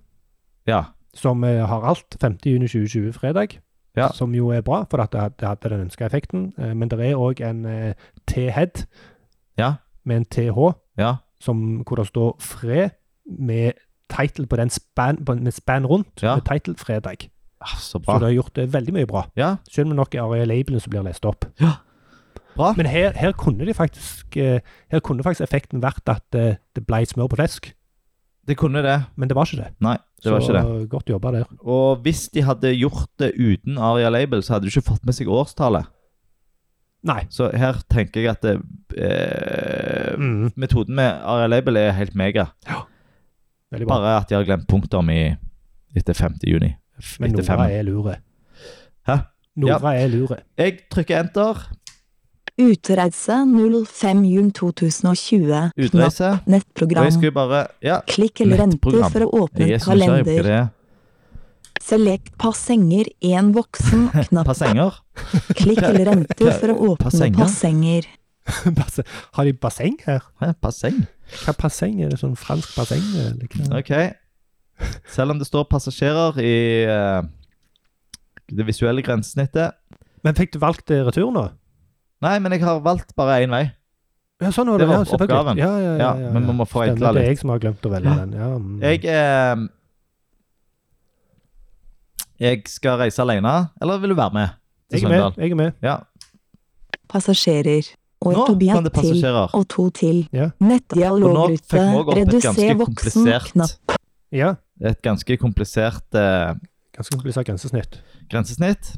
Ja. som eh, har alt 5.6.2020 fredag. Ja. Som jo er bra, for at det, det hadde den ønska effekten. Eh, Men det er òg en eh, T-head Ja. med en TH, Ja. som, hvor det står 'fred' med title på den span, på, med span rundt, Ja. med title 'fredag'. Ah, Så Så det bra. har gjort det veldig mye bra. Ja, Selv om det nok er Aria-labelen som blir lest opp. bra. Men her, her kunne de faktisk eh, Her kunne faktisk effekten vært at eh, det ble smør på flesk, Det kunne det. men det var ikke det. Nei, det var Så ikke det. eh, godt jobba der. Og hvis de hadde gjort det uten Aria Label, så hadde du ikke fått med seg årstallet. Nei. Så her tenker jeg at det, eh, Mm, metoden med Aria Label er helt mega. veldig bra. Bare at de har glemt punkter om i etter 5. juni. Men Etter Nora fem. er lure. Hæ? Nora er lure. Jeg trykker enter. Utreise 05 jun 2020. Knapp Utreise. Og jeg nettprogram. skulle bare Ja, Klikk eller renter nettprogram. for å åpne jeg en er så nysgjerrig på hva kalender. det er. Selekt passenger én voksen. Knapp. Passenger? Klikk eller renter for å åpne Passenger? passenger. Basse- Har de basseng her? Hæ, Passeng? Hva basseng er det? Sånn fransk basseng? Eller hva? Ok. Selv om det står passasjerer i eh, det visuelle grensesnittet Men fikk du valgt eh, retur nå? Nei, men jeg har valgt bare én vei. Ja, sånn var Det det. var ja, selvfølgelig. oppgaven. Ja, ja, ja, Ja, ja, men vi ja. må forenkle Stemmer, Det litt. er jeg som har glemt å velge den. Ja, mm. Jeg eh, Jeg skal reise alene, eller vil du være med? til jeg er Sogndal? med. Jeg er med. Ja. Passasjerer. Og Nå Tobias kom det til. passasjerer. Og to til. Ja. Og nå fikk Nettdialogrute. vi også opp et Reduser ganske voksen. Knapp. komplisert, Ja. et ganske komplisert eh, Ganske komplisert grensesnitt. grensesnitt.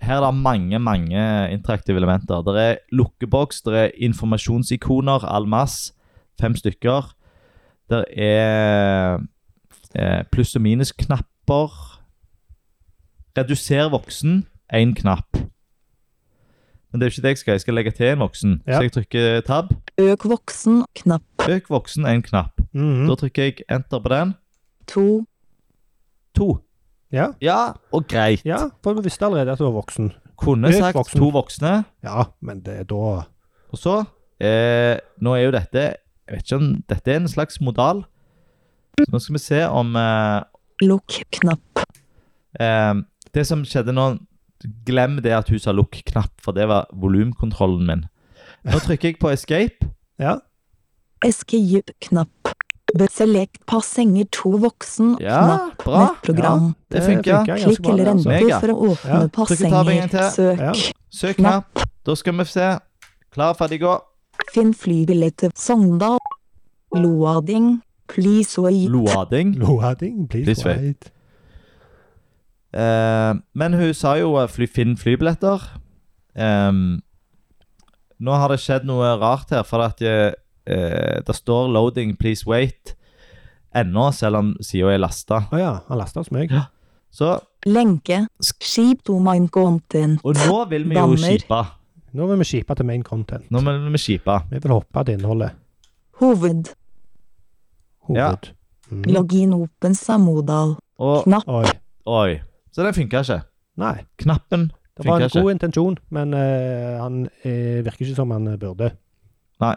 Her er det mange mange interaktive elementer. Det er lukkeboks, det er informasjonsikoner, all mass, fem stykker. Det er eh, pluss- og minusknapper. Reduser voksen, én knapp. Men det er jo ikke det jeg skal. Jeg skal legge til en voksen. Ja. Så jeg trykker tab. Øk voksen. Knapp. Øk voksen, én knapp. Mhm. Da trykker jeg enter på den. To. To. Ja. Ja, og greit. ja, for vi visste allerede at du var voksen. Kunne Øk sagt voksen. to voksne. Ja, men det er da Og så eh, Nå er jo dette Jeg vet ikke om dette er en slags modal. Så nå skal vi se om eh, Lukk. Knapp. eh, Det som skjedde nå Glem det at hun sa lukk-knapp, for det var volumkontrollen min. Nå trykker jeg på escape. Ja. Escape. Knapp. Be- Selekt passenger to voksen. Knapp. Ja, bra. Nettprogram. Det funker. ganske Klikk bra, eller det, altså. renter Mega. for å åpne Ja, trykk og tab en gang passenger. til. Ja. Søk. Søk knapp. Da skal vi se. Klar, ferdig, gå. Finn flybillett til Sogndal. Loading. Please wait. Loading. Loading, please Please wait. wait. Eh, men hun sa jo eh, fly, finn flybilletter. Ehm, nå har det skjedd noe rart her, for at eh, eh, det står 'loading, please wait' ennå, selv om sida er lasta. Å ja, han lasta hos meg. Så Lenke. Skip to mine content. Og nå vil vi jo Banner. skipe. Nå vil vi skipe til main content. Nå vil vi skipe. Vi vil hoppe til innholdet. Hoved. Hoved. Mm. Login open Samodal. Og Knapp. Oi. Oi. Så den funka ikke. Nei. Knappen Det var en funka ikke. god intensjon, men eh, han eh, virker ikke som han eh, burde. Nei.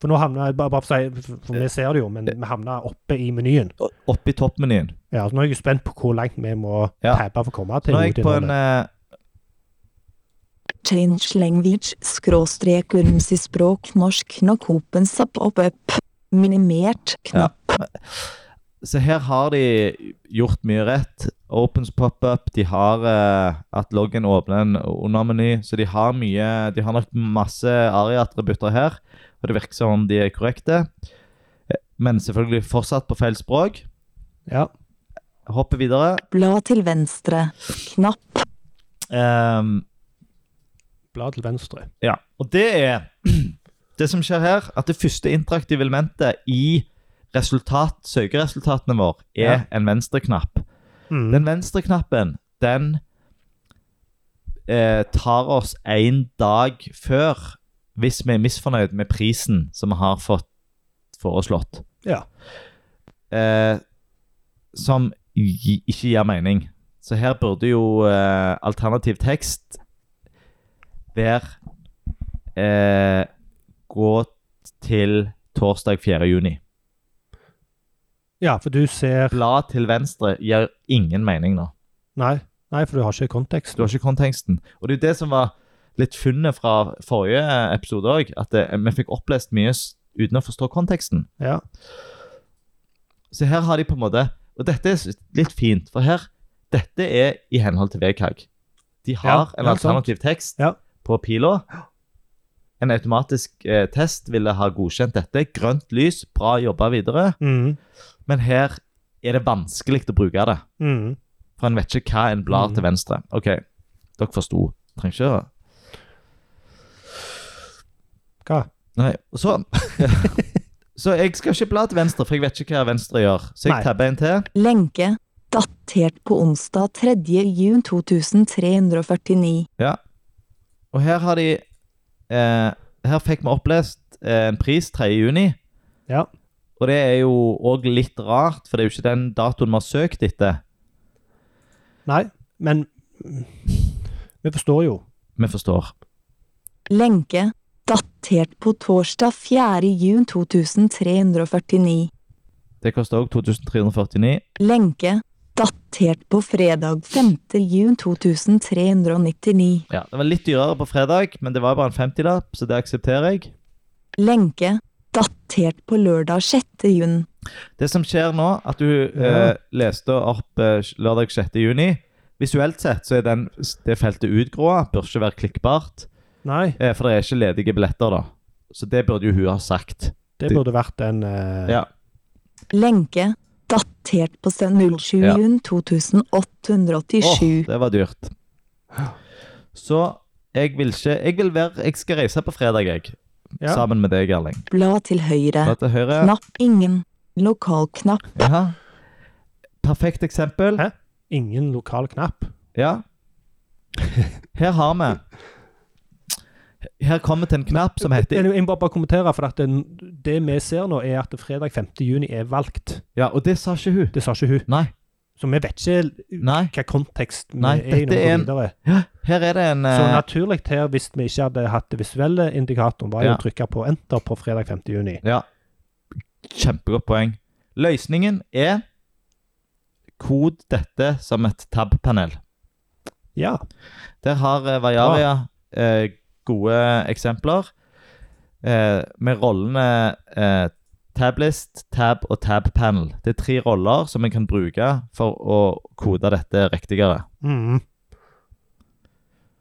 For nå havna jeg bare, bare for, å si, for vi ser det jo, Eh. men vi havna oppe i menyen. Opp i toppmenyen. Ja, så Nå er jeg jo spent på hvor langt vi må Ja. tabbe for å komme til Nå er jeg på en hovedinnholdet. eh, Change language. Skråstrek currency språk norsk. Knock open sap up up. Minimert. Knapp. Så her har de gjort mye rett. Opens pop-up, de har eh, at loggen åpner en undermeny, så de har mye De har nok masse ARI-attributter her, og det virker som om de er korrekte. Eh, Men selvfølgelig fortsatt på feil språk. Ja. Hopper videre. Bla til venstre. Knapp. Ehm, Bla til venstre. ja. Og det er det som skjer her, at det første interaktive elementet i resultat, søkeresultatene våre er Ja. en venstreknapp. Mm. Den venstre knappen, den eh, tar oss en dag før hvis vi er misfornøyd med prisen som vi har fått foreslått. Ja. Eh, som gi, ikke gir mening. Så her burde jo eh, alternativ tekst være eh, Gå til torsdag 4. juni. ja, for du ser Blad til venstre gir ingen mening nå. Nei, nei for du har ikke kontekst. Du har ikke konteksten. Og det er jo det som var litt funnet fra forrige eh, episode òg, at det, vi fikk opplest mye s- uten å forstå konteksten. Ja. Så her har de på en måte Og dette er s- litt fint, for her Dette er i henhold til VKG. De har Ja, en ja, sant. alternativ tekst Ja. på pila. En automatisk eh, test ville ha godkjent dette. Grønt lys, bra jobba videre. Mm. Men her er det vanskelig å bruke det. Mm. For en vet ikke hva en blar Mm. til venstre. OK, dere forsto. Trenger ikke å Hva? Nei, Sånn. og så Så jeg skal ikke bla til venstre, for jeg vet ikke hva venstre gjør. Så Nei. jeg tabber en til. Lenke. Datert på onsdag 3. jun 2349. Og her har de Eh, her fikk vi opplest eh, en pris 3. juni. Ja. Og det er jo òg litt rart, for det er jo ikke den datoen vi har søkt etter. Nei, men mm, vi forstår jo. Vi forstår. Lenke. Datert på torsdag 4. jun 2349. Det koster òg 2349. Lenke. Datert på fredag 5. jun 2399. Ja, Det var litt dyrere på fredag, men det var bare en 50-lapp, så det aksepterer jeg. Lenke. Datert på lørdag 6. jun. Det som skjer nå, at du eh, leste opp eh, lørdag 6. juni. Visuelt sett så er den, det feltet utgråa, bør ikke være klikkbart. Nei, Eh, for det er ikke ledige billetter, da. Så det burde jo hun ha sagt. det Det- burde vært en eh, Ja. Lenke. Datert på 07. Ja. jun 2887. Åh, det var dyrt. Så jeg vil ikke Jeg vil være Jeg skal reise på fredag, jeg. ja. Sammen med deg, Erling. Blad til høyre. Fra til høyre. Knapp ingen. Lokalknapp. Ja. Perfekt eksempel. Hæ? Ingen lokal knapp. Ja. Her har vi Her kommer til en knapp som heter Men Jeg må bare kommentere, for at det, det vi ser nå, er at fredag 5. juni er valgt. Ja, og det sa ikke hun. Det sa ikke hun. Nei. Så vi vet ikke Nei. hva kontekst vi Nei, er i dette er en- når vi går videre. Ja, her er det en Så eh, naturlig her, hvis vi ikke hadde hatt det visuelle indikatoren, var jo Ja. å trykke på enter på fredag 5. juni. Ja. Kjempegodt poeng. Løsningen er Kod dette som et tab-panel. Ja. Der har eh, Vajaria eh, gode eksempler eh, med rollene eh, tablist, tab og tab-panel. Det er tre roller som en kan bruke for å kode dette riktigere. Mhm.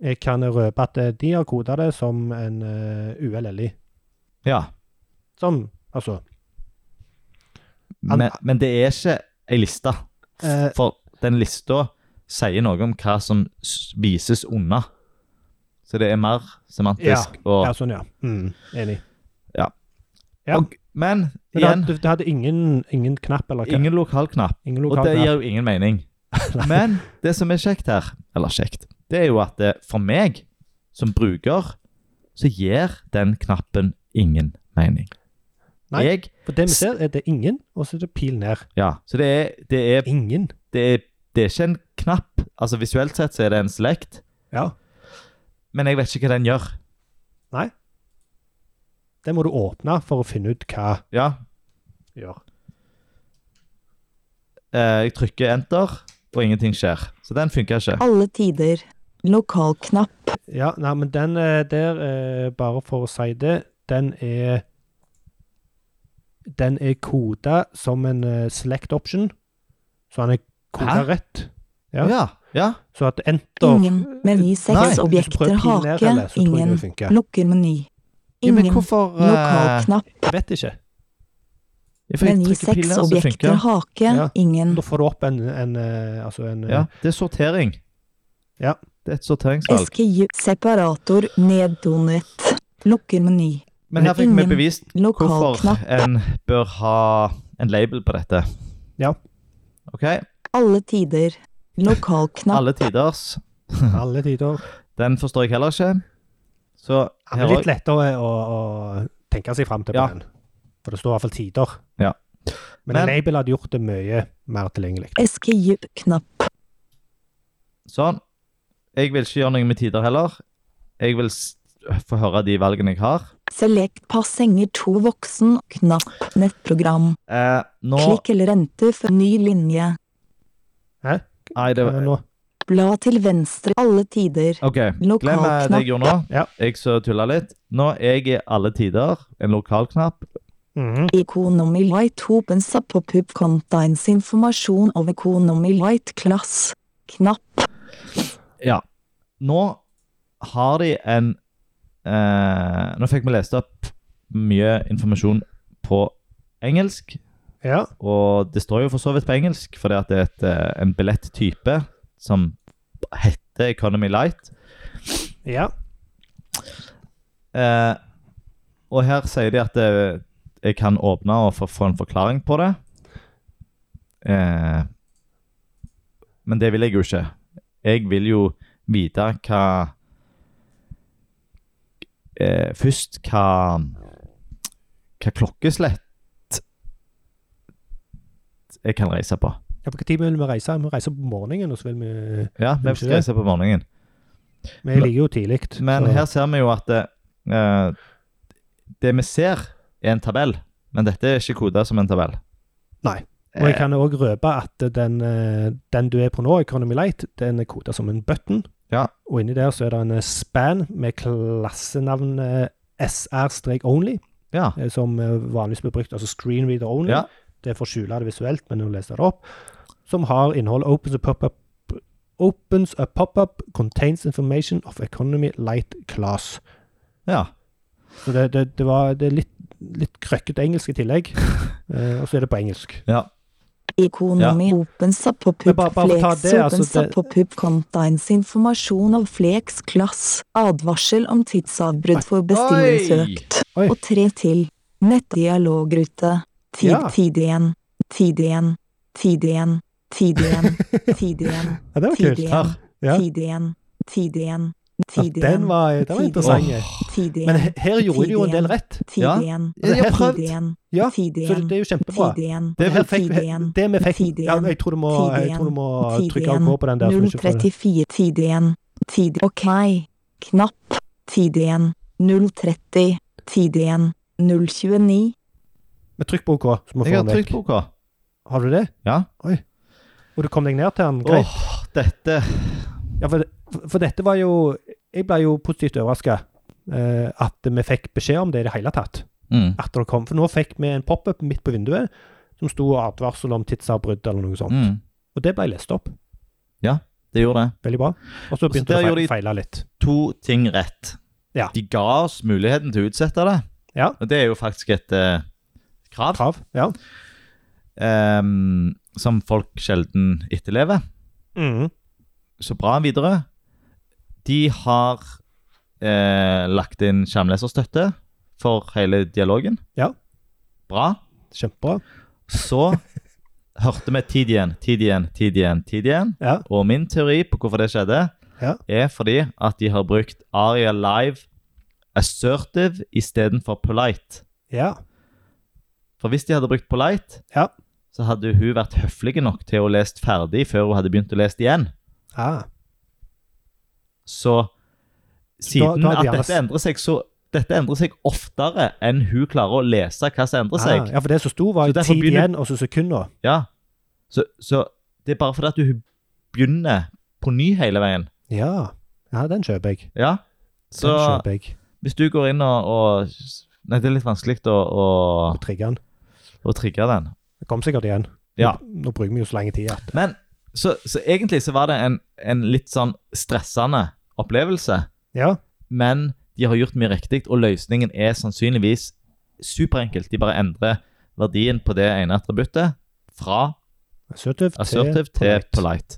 Jeg kan røpe at eh, de har koda det som en eh, ULLI. Ja, Som, altså men, men det er ikke ei liste. Eh. For den lista sier noe om hva som s- vises unna. Så det er mer semantisk. og, Ja, sånn, ja. Mhm, enig. ja. og, men Men det igjen, hadde, det hadde ingen, ingen knapp eller hva? ingen lokalknapp. ingen Og lokal det knapp. gir jo ingen mening. Men det som er kjekt her, eller kjekt, det er jo at det, for meg som bruker, så gir den knappen ingen mening. Nei. Jeg, For det vi ser, er det ingen, og så er det pil ned. ja, så det er, det, er, Ingen. det, er, det er ikke en knapp. Altså Visuelt sett så er det en slekt, Ja. men jeg vet ikke hva den gjør. Det må du åpne for å finne ut hva Ja, gjør. eh, Jeg trykker enter, og ingenting skjer. Så den funker ikke. Alle tider. Lokalknapp. Ja, nei, men den eh, der, eh, bare for å si det, den er Den er koda som en eh, select option, så han er koda Hæ? rett. Ja. Ja, ja. Så at enter Ingen. Meny Nei, Hvis seks du objekter. prøver pil ned, Helle, så tror Hake. jeg det Ingen. vil funke. Lukker meny. ja men Ingen. hvorfor eh, Lokalknapp. Jeg vet ikke. jeg får Meny trykke seks pilene, så objekter. funker. Hake. Ja. Ingen. Da får du opp en, en eh, Altså en eh, Ja, det er sortering. Ja. Det er et sorteringsvalg. SKJ. Separator. Neddonert. Lukker meny. Men her fikk vi Ingen bevist hvorfor Lokalknapp. en bør ha en label på dette. Ja. OK. Alle tider. Lokalknapp. Alle tiders. alle tider. Den forstår jeg heller ikke. Så Ja, her men litt òg. lettere å, å tenke seg fram til på Ja. den. For det står i hvert fall tider. Ja. Men, Men- en label hadde gjort det mye mer tilgjengelig. SKJ. Knapp. Sånn. Jeg vil ikke gjøre noe med tider heller. Jeg vil s- få høre de valgene jeg har. Select passenger to voksen. Knapp. Nettprogram. Eh, nå Klikk eller rente for ny linje. Nei, det Eh, var Nå. Bla til venstre. Alle tider. OK. Glem eh, det Lokalknapp. jeg gjorde nå. Ja. Jeg så tulla litt. Nå er jeg i alle tider. En lokalknapp. Mhm. Economy Light opens up pop-up contains informasjon om Economy Light class. Knapp. Ja. Nå har de en eh, Nå fikk vi lest opp mye informasjon på engelsk. Ja. Og det står jo for så vidt på engelsk, fordi at det er et, eh, en billetttype som heter Economy Light. ja. Eh, og her sier de at eh, jeg kan åpne og få, få en forklaring på det. Eh, men det vil jeg jo ikke. Jeg vil jo vite hva eh, først hva, hva klokkeslett jeg kan reise på. Ja, på hvilken tid vil vi reise? Vi reiser på morgenen, og så vil vi Ja, vi skal reise på morgenen. Vi ligger jo tidlig. Men så- her ser vi jo at det, eh, det vi ser, er en tabell. Men dette er ikke kodet som en tabell. Eh, Nei. Og jeg kan òg røpe at den, eh, den du er på nå, Economy Light, den er koda som en button. Ja. Og inni der så er det en eh, span med eh, klassenavnet SR-only, Ja. eh, som eh, vanligvis blir brukt. Altså screenreader only. Ja. Det er for å skjule det visuelt, men å lese det opp. Som har innhold opens a pop-up Opens a pop-up contains information of economy light class. ja. Så det, det, det, var, det er litt, litt krøkkete engelsk i tillegg. Eh, og så er det på engelsk. ja. Economy opens up på Men pub bare- bare for å ta flex det, altså, opens det- up på pub contains informasjon om flex class, advarsel om tidsavbrudd for bestillingsøkt, Oi. Oi. og tre til. Nettdialogrute. Tid, Ja. tid igjen. Tid igjen. Tid igjen. Tid igjen. Tid igjen. Ja, det var Tid kult. igjen. Her. Ja. Tid igjen. Tid igjen. Ja, Tid den igjen. var, eh, den var Tid interessant. igjen. Tid Men igjen. he- her gjorde de jo en del rett. Tid Ja. igjen. Jeg har Tid prøvd. igjen. Ja, så Tid det, igjen. det er jo kjempebra. Tid igjen. Det, her fikk, Tid igjen. det vi fikk Tid ja, igjen. Jeg tror du må, eh, Tid jeg tror du må igjen. Tid trykke igjen. OK på den der. så vi ikke får det. 034 tid igjen. Tid Ok. Knapp. Tid igjen. 030. Tid igjen. 029. Men trykk på OK, så må vi Jeg få har den trykt vekk. på OK. Har du det? Ja. Oi. Og du kom deg ned til den? Åh, Greit. dette Ja, for, for dette var jo Jeg ble jo positivt overraska eh, at vi fikk beskjed om det i det hele tatt. mm. At det kom. For nå fikk vi en pop-up midt på vinduet som sto advarsel om tidsavbrudd eller noe sånt. Mm. Og det ble lest opp. Det gjorde det. Veldig bra. Og så begynte der det å gjorde de- fe- feile litt. To ting rett. Ja. De ga oss muligheten til å utsette det. Ja. Og det er jo faktisk et eh, krav Krav. Ja. ehm, som folk sjelden etterlever. Mhm. så bra videre. De har eh, lagt inn skjermleserstøtte for hele dialogen. Ja. Bra. Kjempebra. Så hørte vi tid igjen, tid igjen, tid igjen, tid igjen. Ja. Og min teori på hvorfor det skjedde, Ja. er fordi at de har brukt Aria Live assertive istedenfor polite. Ja. For hvis de hadde brukt polite, Ja. så hadde hun vært høflig nok til å lest ferdig før hun hadde begynt å lese igjen. Ah. Så siden da har de at gjerne dette endrer seg, så dette endrer seg oftere enn hun klarer å lese hva som endrer Ah, seg. ja, for det som sto, var Så jo derfor tid begynner- igjen, og så sekunder. Ja. Så, så det er bare fordi at hun begynner på ny hele veien. Ja. ja, den kjøper jeg. Ja. Den Så kjøper jeg. hvis du går inn og, og Nei, det er litt vanskelig å, å, Og trigger den. å trigge den. Det kom sikkert igjen. Ja. Nå, nå bruker vi jo så lenge tid at Men så, så egentlig så var det en, en litt sånn stressende opplevelse. Ja. men de har gjort mye riktig, og løsningen er sannsynligvis superenkelt. De bare endrer verdien på det ene attributtet fra Assertive assertive til Uh. polite.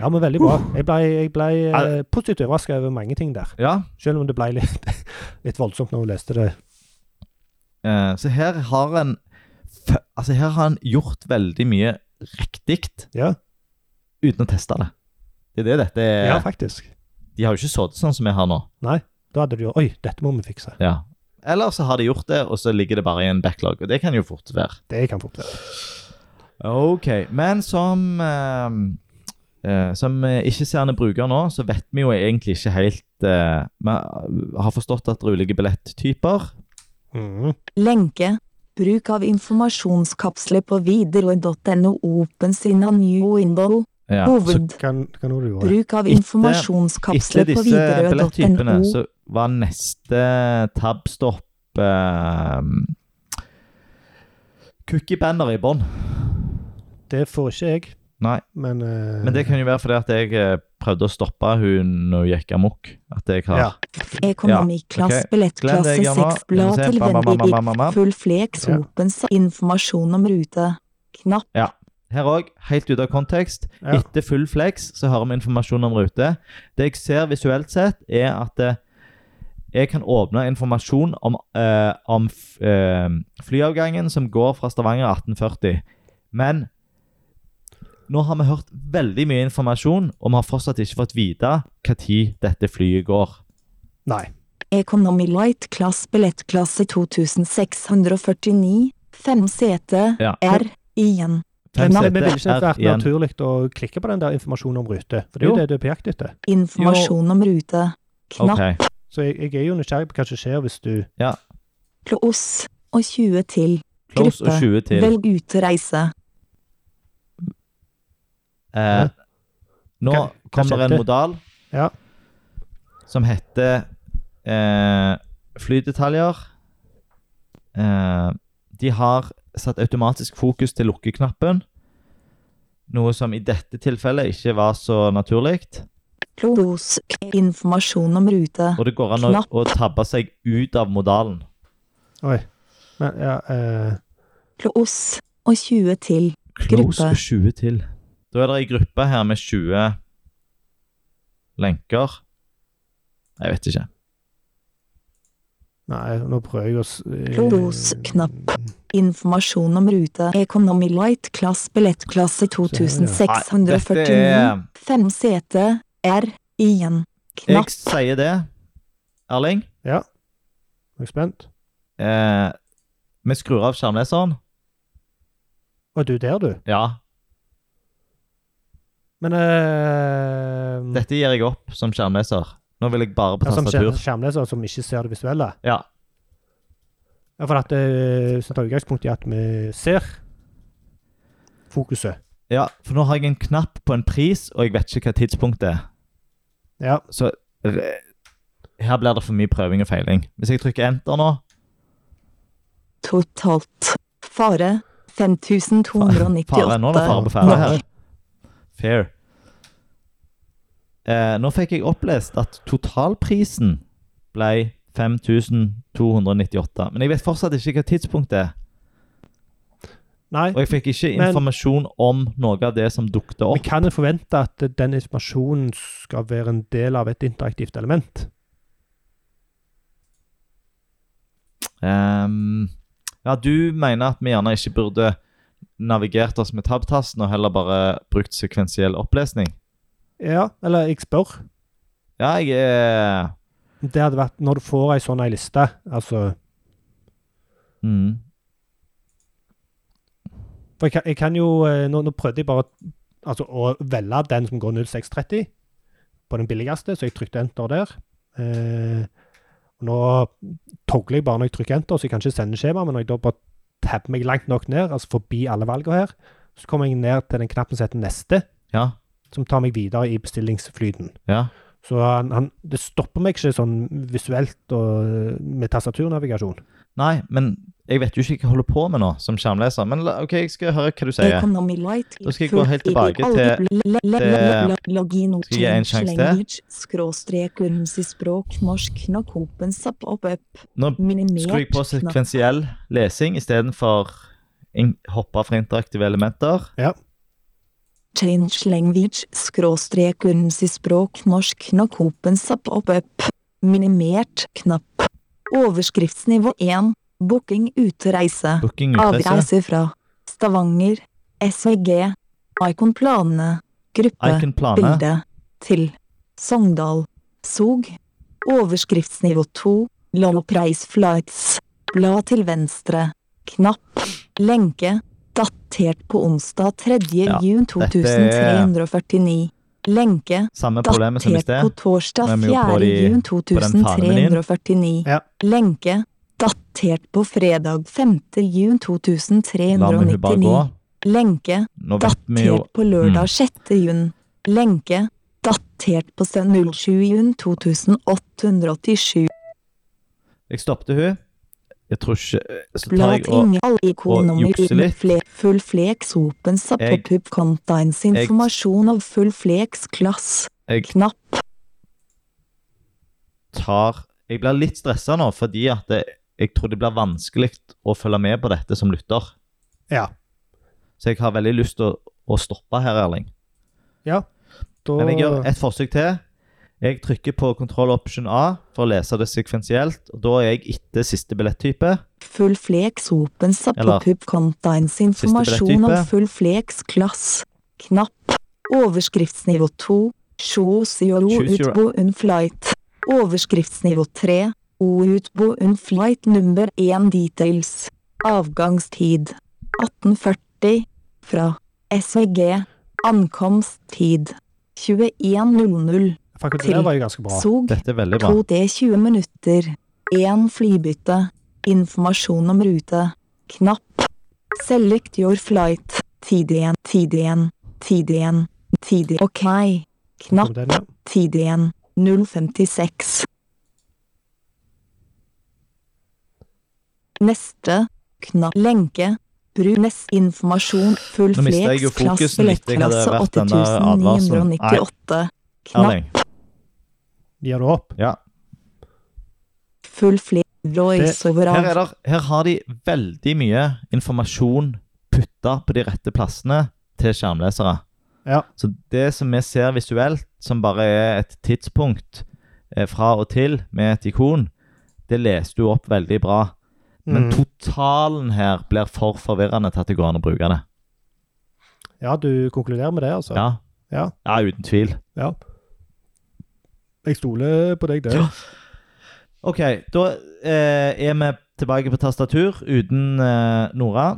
Ja, men veldig bra. Jeg ble, jeg ble eh, Er- positivt overraska over mange ting der. Ja, Selv om det ble litt, litt voldsomt når hun leste det. eh, så her har en f- Altså, her har en gjort veldig mye riktig Ja, uten å teste det. Det er det dette er. ja faktisk. De har jo ikke sittet sånn som vi har nå. Da hadde du jo Oi, dette må vi fikse. Ja. Eller så har de gjort det, og så ligger det bare i en backlog. Og det kan jo fort være. Det kan fort være. Ok, men som eh, eh, Som eh, ikke-seende bruker nå, så vet vi jo egentlig ikke helt eh, Vi har forstått at det er ulike billetttyper. Mhm. Lenke. Bruk av informasjonskapsler på widerøe.no opens in a new window. Ja, så Hoved. Kan, kan du gjøre Bruk av Etter- informasjonskapsler etter på disse billetttypene widerøe.no. så var neste tabstopp eh, Cookiebanner i bånn. Det får ikke jeg. Nei. Men, eh, Men det kan jo være fordi at jeg eh, prøvde å stoppe hun når hun gikk amok. At jeg har ja. Økonomiklass, Ja, ok. Glem billettklasse det, Janne. 6, Vi blad må se. til Bam, bam, bam, Vendig, bam, bam, bam. full flex, Ja. opens informasjon om rute. Knapp. Her òg, helt ute av kontekst. Ja. Etter full flex så har vi informasjon om rute. Det jeg ser visuelt sett, er at eh, jeg kan åpne informasjon om, eh, om f, eh, flyavgangen som går fra Stavanger 1840. Men nå har vi hørt veldig mye informasjon, og vi har fortsatt ikke fått vite når dette flyet går. Nei. Economy Light Class billettklasse 2649, fem sete, Ja. Eh, R, igjen. Men Fem men ville ikke seter det er vært igjen. naturlig å klikke på den der informasjonen om rute? For det er Jo. jo det du er på jakt etter. Informasjon om rute. Knapp Ok. Så jeg, jeg er jo nysgjerrig på hva som skjer hvis du close og 20 til. Close og 20 til. Velg utereise. Eh, nå Hva- hva kommer en skjedde? modal Ja. som heter eh, flydetaljer. Eh, de har satt automatisk fokus til lukkeknappen, noe som i dette tilfellet ikke var så naturlig. Close informasjon om rute. Og det går an å, Knapp. å tabbe seg ut av modalen. Oi. Men, ja, eh, Close og 20 til. Close Gruppe. og 20 til. Da er det ei gruppe her med 20 lenker. Jeg vet ikke. nei, nå prøver jeg å s- eh, Close-knapp. Informasjon om rute. Economy Light Class billettklasse Nei, 2649. dette er- Fem sete. R. Igjen. Jeg Knapp. sier det, Erling. Ja. Jeg er spent. Eh, vi skrur av skjermleseren. Å, du der, du. Ja, Men eh, dette gir jeg opp som skjermleser. Nå vil jeg bare på ja, Som skjerm- tastatur. skjermleser som ikke ser det visuelle. Ja, Ja, for at det tar utgangspunkt i at vi ser fokuset. ja, for nå har jeg en knapp på en pris, og jeg vet ikke hva tidspunktet er. Ja. Så re- her blir det for mye prøving og feiling. Hvis jeg trykker enter nå Totalt. Fare. Fare, nå er det 5298. fare på ferde Nei. her. Fair. Eh, nå fikk jeg opplest at totalprisen ble 5298. Men jeg vet fortsatt ikke hva tidspunktet er. Nei. Og jeg fikk ikke Men- informasjon om noe av det som dukket Vi opp. kan jo forvente at den informasjonen skal være en del av et interaktivt element. Ehm, ja, du mener at vi gjerne ikke burde navigert oss med tabtasten og heller bare brukt sekvensiell opplesning. Ja, eller jeg spør. Ja, jeg er Det hadde vært når du får ei sånn ei liste, altså mm. For jeg kan, jeg kan jo eh, Nå, nå prøvde jeg bare altså, å velge den som går 0630, på den billigste, så jeg trykte enter der. Eh, og nå togler jeg bare når jeg trykker enter, så jeg kan ikke sende skjema, men når jeg da bare tabber meg langt nok ned, altså forbi alle valgene her, så kommer jeg ned til den knappen som heter neste, Ja. som tar meg videre i bestillingsflyten. Ja. Så han, han, det stopper meg ikke sånn visuelt og eh, med tastaturnavigasjon. Nei, men jeg vet jo ikke hva jeg holder på med nå som skjermleser. Men la- OK, jeg skal høre hva du sier. Economy Light. Da skal jeg gå helt tilbake til- Skal jeg gi en sjanse til? Skråstrek urmsi språk norsk nok hopens opp opp opp. Nå Minimert skrur jeg på knapp. sekvensiell lesing istedenfor in- hoppe fra interaktive elementer. Change language, skråstrek urmsi språk norsk nok hopens opp opp opp. Minimert knapp. Overskriftsnivå 1. Booking utereise. Booking utreise. Avreise fra Stavanger. SVG. Icon planene. Gruppe. Icon plane. Bilde. Til. Sogndal. Sog. Overskriftsnivå 2. Low price flights. Bla til venstre. Knapp. Lenke. Datert på onsdag 3. Ja, juni 2349. Lenke. Samme problemet som i Datert på sted. torsdag Men vi er jo på 4. de- juni den fanemenyen. 2349. Ja. Lenke. Datert på fredag 5. juni La meg hun bare gå. 2399. Lenke. Nå vet vi jo Datert på lørdag Mm. 6. juni. Lenke. Datert på søndag 07. juni 2887. Jeg stoppet hun. Jeg tror ikke Så tar Blad jeg og ingen all ikonommer jukse i litt. fle, full flex open sub Jeg- pop-up contains jeg- informasjon av full flex klass. Jeg- Knapp. tar Jeg blir litt stressa nå, fordi at det, jeg tror det blir vanskelig å følge med på dette som lytter. Ja. Så jeg har veldig lyst til å, å stoppe her, Erling. Da, Men jeg gjør et forsøk til. Jeg trykker på control option A for å lese det sekvensielt. og Da er jeg etter siste billettype. Full flex open sub Eller- pop-up contains informasjon bretttype. av full flex klass. Knapp. Overskriftsnivå 2. Shows your Choose your- utbo unflight. Overskriftsnivå 3. Outbo un flight number 1 details. Avgangstid 1840 fra SVG. Ankomsttid 21.00. Faktisk, det der var jo ganske bra. Zug Dette er veldig bra. 2D 20 E minutter. 1 flybytte. Informasjon om rute. Knapp. Select your flight. Tid igjen, tid igjen, tid igjen, tid igjen. Ok. Kom Knapp. den, ja. Tid igjen. 056. Neste. Knapp. Lenke. Bruk nest informasjon. Full Nå mistet jeg jo flex. Klasse fokusen litt. Jeg hadde billettklasse vært den der advarselen. Nei. 8998. Knapp. Erling. Gir du opp? Ja. Full flex. Voice over Her, er der, her har de veldig mye informasjon putta på de rette plassene til skjermlesere. Ja. Så det som vi ser visuelt, som bare er et tidspunkt eh, fra og til med et ikon, det leser du opp veldig bra. Men Mm. totalen her blir for forvirrende til at det går an å bruke det. Ja, du konkluderer med det, altså? Ja, Ja. ja uten tvil. ja. Jeg stoler på deg, det. Ja. Ok, da eh, er vi tilbake på tastatur uten eh, Nora.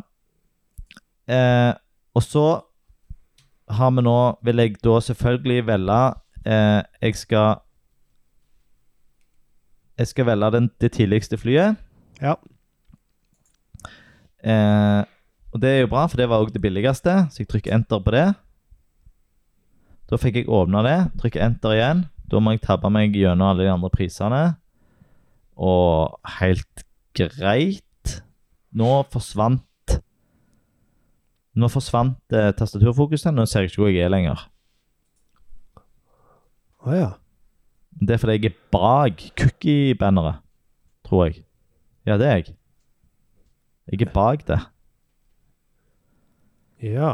Eh, og så har vi nå Vil jeg da selvfølgelig velge eh, Jeg skal Jeg skal velge den, det tidligste flyet. Ja. Eh, og det er jo bra, for det var òg det billigste, så jeg trykker enter på det. Da fikk jeg åpna det. Trykker enter igjen. Da må jeg tabbe meg gjennom alle de andre prisene. Og helt greit. Nå forsvant Nå forsvant eh, tastaturfokuset. Nå ser jeg ikke hvor jeg er lenger. Å ja. Det er fordi jeg er bak cookie-banneret, tror jeg. Ja, det er jeg. Jeg er bak det. Ja.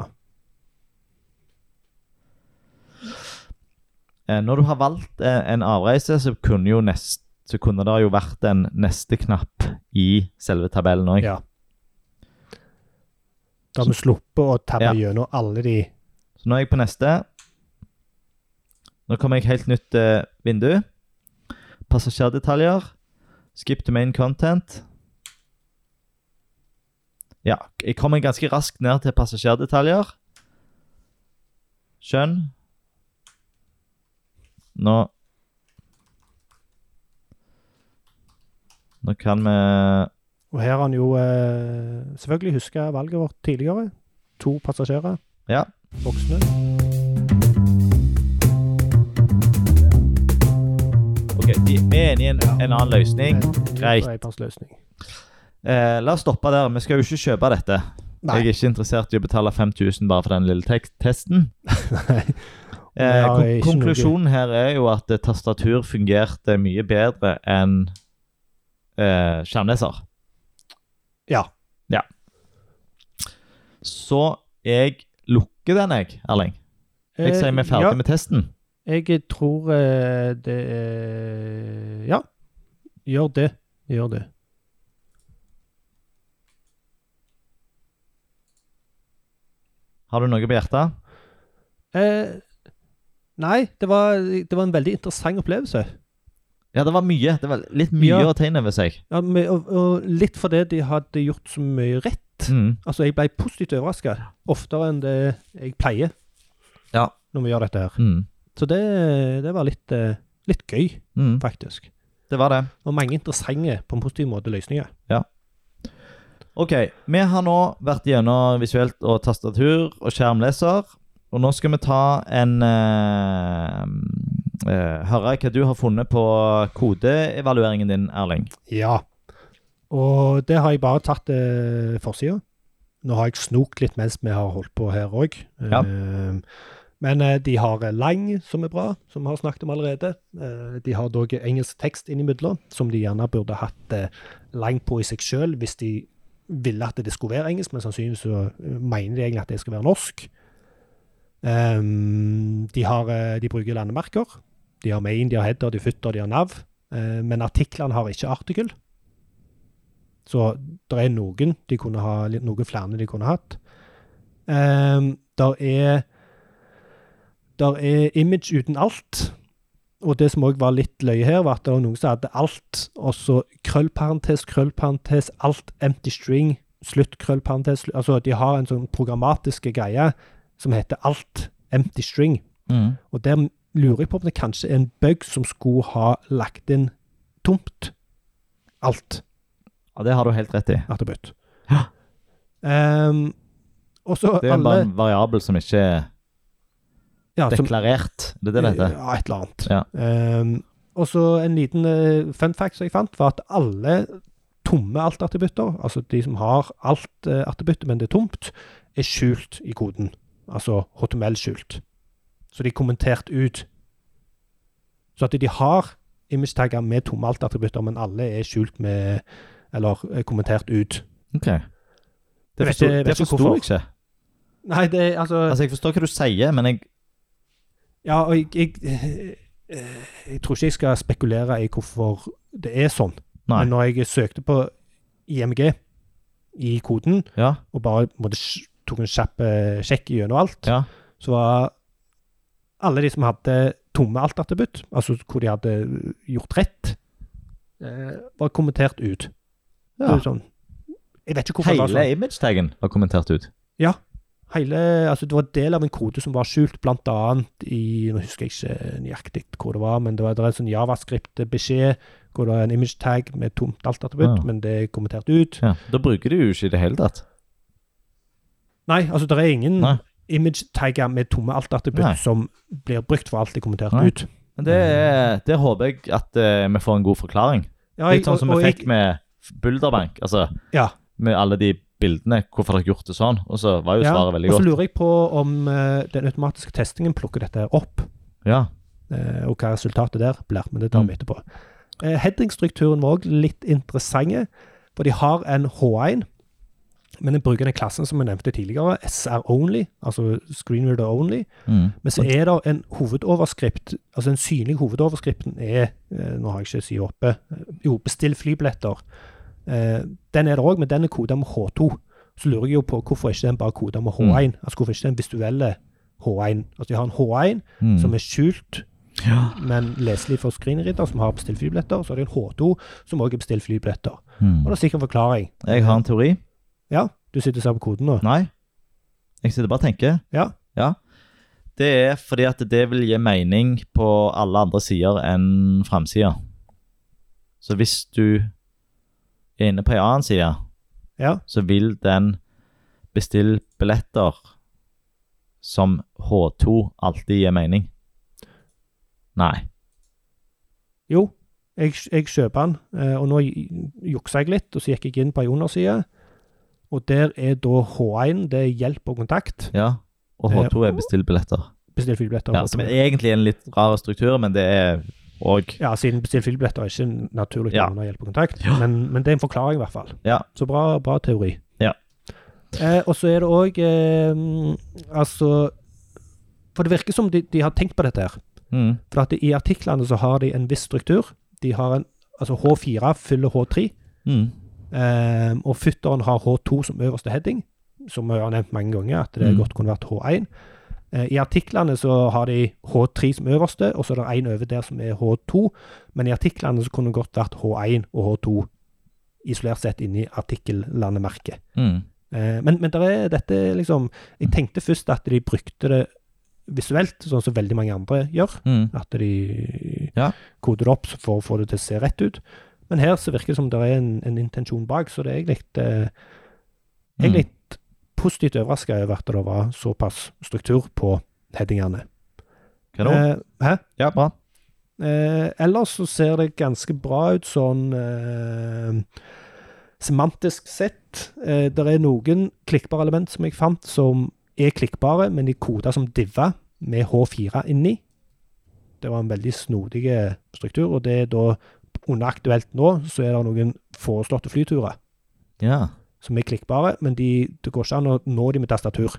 Eh, Når du har valgt eh, en avreise, så kunne, jo nest, så kunne det jo vært en neste-knapp i selve tabellen òg. ja. Da har vi sluppet å tabbe Ja. gjennom alle de Så nå er jeg på neste. Nå kommer jeg helt nytt eh, vindu. Passasjerdetaljer. Skip to main content. Ja, jeg kommer ganske raskt ned til passasjerdetaljer. Skjønn. Nå Nå kan vi Og her har han jo eh, selvfølgelig huska valget vårt tidligere. To passasjerer. Ja. Voksne. OK, vi vi er enige i en, en annen Eh, løsning. Greit. Bredbåndsløsning. Eh, la oss stoppe der. Vi skal jo ikke kjøpe dette. Nei. Jeg er ikke interessert i å betale 5000 bare for den lille tek- testen. Nei. Eh, Ja, kon- ikke noe. konklusjonen her er jo at eh, tastatur fungerte mye bedre enn eh, skjermleser. Ja. Ja. Så jeg lukker den, jeg, Erling. Jeg sier vi er ferdig med testen. Ja, Eh, jeg tror eh, det er Ja. Gjør det. Gjør det. Har du noe på hjertet? Eh, nei, det var, det var en veldig interessant opplevelse. Ja, det var mye. Det var litt mye Ja. å tegne over seg. Ja, men- og, og litt fordi de hadde gjort så mye rett. Mm. Altså, jeg ble positivt overraska oftere enn det jeg pleier Ja. når vi gjør dette her. Mm. Så det, det var litt, eh, litt gøy, Mm. faktisk. Det var det. Og mange interessante, på en positiv måte, løsninger. Ok, vi har nå vært gjennom visuelt og tastatur og skjermleser. Og nå skal vi ta en eh, eh, Høre hva du har funnet på kodeevalueringen din, Erling. Ja. Og det har jeg bare tatt eh, forsida. Nå har jeg snokt litt mens vi har holdt på her òg. Ja. Eh, men eh, de har eh, lang, som er bra, som vi har snakket om allerede. Eh, de har dog engelsk tekst innimellom, som de gjerne burde hatt eh, lang på i seg sjøl hvis de ville at det skulle være engelsk, men sannsynligvis så eh, mener de egentlig at det skal være norsk. Ehm, de, har, eh, de bruker landemerker. De har main, de har header, de har footer, de har nav. Eh, men artiklene har ikke artikkel. Så det er noen de kunne ha, litt- noen flere de kunne hatt. Ehm, Um, der er der er image uten alt. Og det som òg var litt løye her, var at det var noen som hadde alt, og så krøllparentes, krøllparentes, alt empty string, slutt, krøllparentes slutt. Altså, de har en sånn programmatisk greie som heter alt empty string. Mm. Og der lurer jeg på om det kanskje er en bug som skulle ha lagt inn tomt alt Ja, det har du helt rett i. attributt. Ja. Ehm, og så Det er alle bare en variabel som ikke er ja, som- deklarert. Det er det det heter. Ja, et eller annet. Ja. Ehm, og så en liten eh, fun fact som jeg fant, var at alle tomme alt-attributter, altså de som har alt-attributtet, men det er tomt, er skjult i koden. Altså HTML-skjult. Så de er kommentert ut. Så at de har image-tagger med tomme alt-attributter, men alle er skjult med Eller eh, kommentert ut. Ok. Jeg Det vet forsto ikke- jeg vet det ikke forsto hvorfor. jeg ikke. Nei, det er altså Altså, jeg forstår hva du sier, men jeg Ja, og jeg, jeg, eh, jeg tror ikke jeg skal spekulere i hvorfor det er sånn. Nei. Men når jeg søkte på IMG i koden, Ja. og bare på en måte sj- tok en kjapp eh, sjekk gjennom alt, ja. så var alle de som hadde tomme alt-attributt, altså hvor de hadde gjort rett, eh, var kommentert ut. Ja. Det er sånn. Jeg vet ikke hvorfor det var sånn. Hele image-taggen var kommentert ut. Hele, altså Det var del av en kode som var skjult, blant annet i Nå husker jeg ikke nøyaktig hvor det var, men det var det er en sånn javascript-beskjed hvor det er en image tag med tomt alt-attributt, Ja. men det er kommentert ut. Ja. Da bruker du jo ikke i det hele tatt. Nei, altså det er ingen Nei. image-tagger med tomme Nei. alt-attributt som blir brukt for alt det er kommentert Nei. ut. Men det, det håper jeg at eh, vi får en god forklaring. Ja, Litt sånn som og- vi og fikk jeg- med Bulderbank. Altså, Ja. med alle de bildene, hvorfor har dere gjort det sånn? Og så var jo ja. svaret veldig Og så godt. lurer jeg på om eh, den automatiske testingen plukker dette her opp, Ja. eh, og hva resultatet der blir. Men det tar vi etterpå. Eh, Headingstrukturen var òg litt interessant, for de har en H1. Men den bruker den klassen som jeg nevnte tidligere, SR only, altså screenreader only. Mm. Men så er det en hovedoverskript, altså den synlige hovedoverskripten er eh, Nå har jeg ikke sida oppe. eh, Jo, bestill flybilletter. Eh, Den er det òg, men den er koda med H2. Så lurer jeg jo på hvorfor ikke den bare koda med H1. Altså hvorfor ikke den visuelle H1. Altså de har en H1 Mm. som er skjult, ja. men leselig for screenreader, som har bestill flybilletter. Og så har de en H2 som òg er bestill flybilletter. Og det Mm. er sikkert en forklaring. Jeg har en teori. Ja, du sitter og ser på koden nå. Nei. Jeg sitter bare og tenker. Ja. ja. Det er fordi at det vil gi mening på alle andre sider enn framsida. Så hvis du er inne på ei annen side, Ja. så vil den bestille billetter som H2 alltid gir mening. Nei. Jo, jeg, jeg kjøper den, eh, og nå j- juksa jeg litt, og så gikk jeg inn på ei underside. Og der er da H1, det er hjelp og kontakt. Ja. Og H2 er bestill billetter. Bestill flybilletter. Ja, som er egentlig en litt rar struktur, men det er òg ja, siden bestill flybilletter er ikke naturlig Ja. under hjelp og kontakt, men, men det er en forklaring i hvert fall. Ja. Så bra, bra teori. Ja. Eh, og så er det òg eh, Altså For det virker som de, de har tenkt på dette her. mm, For at i artiklene så har de en viss struktur. De har en, altså H4 fyller H3. mm, Ehm, og futteren har H2 som øverste heading, som jeg har nevnt mange ganger, at det Mm. godt kunne vært H1. Eh, I artiklene så har de H3 som øverste, og så er det en over der som er H2. Men i artiklene så kunne det godt vært H1 og H2 isolert sett inni artikkellandemerket. mm. Eh, men men der er dette liksom Jeg tenkte først at de brukte det visuelt, sånn som veldig mange andre gjør. Mm. At de Ja. koder det opp for å få det til å se rett ut. Men her så virker det som det er en, en intensjon bak, så det er jeg litt, eh, jeg er Mm. litt positivt overraska over at det var såpass struktur på headingene. Kanon. Eh, hæ? Ja, bra. Eh, ellers så ser det ganske bra ut sånn eh, semantisk sett. Eh, det er noen klikkbare element som jeg fant, som er klikkbare, men de koder som diva med H4 inni. Det var en veldig snodig struktur, og det er da under aktuelt nå, så er det noen foreslåtte flyturer Ja. som er klikkbare, men de, det går ikke an å nå de med tastatur,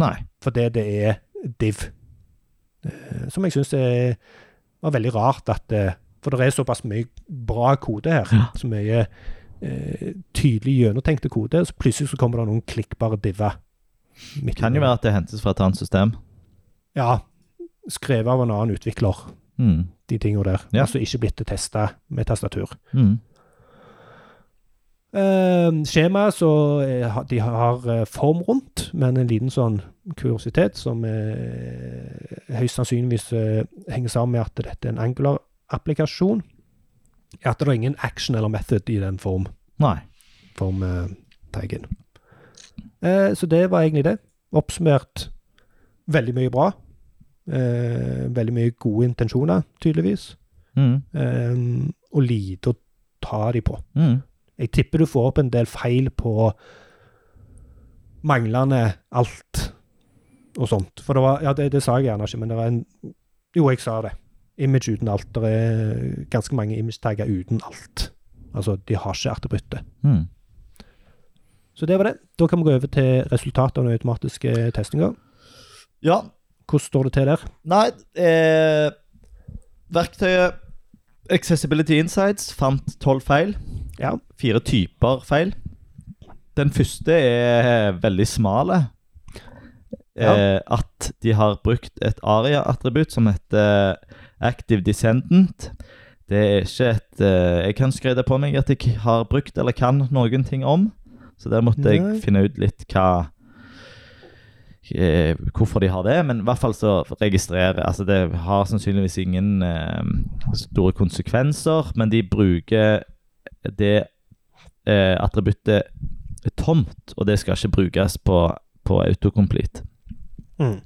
Nei. fordi det er div. Eh, Som jeg syns var veldig rart, at eh, For det er såpass mye bra kode her. Ja. Så mye eh, tydelig gjennomtenkte kode, så plutselig så kommer det noen klikkbare diver. Kan jo være at det hentes fra et annet system. Ja. skrevet av en annen utvikler, Mm. de tinga der. Ja. Altså ikke blitt testa med tastatur. Mm. Eh, skjemaet så eh, ha- de har eh, form rundt, men en liten sånn kuriositet som eh, høyst sannsynligvis eh, henger sammen med at dette er en angular-applikasjon, er at det er ingen action eller method i den form, Nei. form eh, taggen. Eh, så det var egentlig det. Oppsummert veldig mye bra. Eh, veldig mye gode intensjoner, tydeligvis. Mm. Eh, og lite å ta de på. Mm. Jeg tipper du får opp en del feil på manglende alt og sånt. For det var Ja, det, det sa jeg gjerne ikke, men det var en Jo, jeg sa det. Image uten alt. Det er ganske mange image-tagger uten alt. Altså, de har ikke attributtet. Mm. Så det var det. Da kan vi gå over til resultatet av den automatiske testinga. Ja, Hvordan står det til der? Nei, eh, verktøyet Accessibility Insights fant tolv feil. Ja. Fire typer feil. Den første er veldig smale. Eh, at de har brukt et aria-attributt som heter active descendant. Det er ikke et eh, Jeg kan skryte på meg at jeg har brukt eller kan noen ting om. Så der måtte Nei. jeg finne ut litt hva eh, Hvorfor de har det, men i hvert fall så registrerer Altså, det har sannsynligvis ingen eh, store konsekvenser, men de bruker det eh, attributtet tomt, og det skal ikke brukes på, på autocomplete. Mm.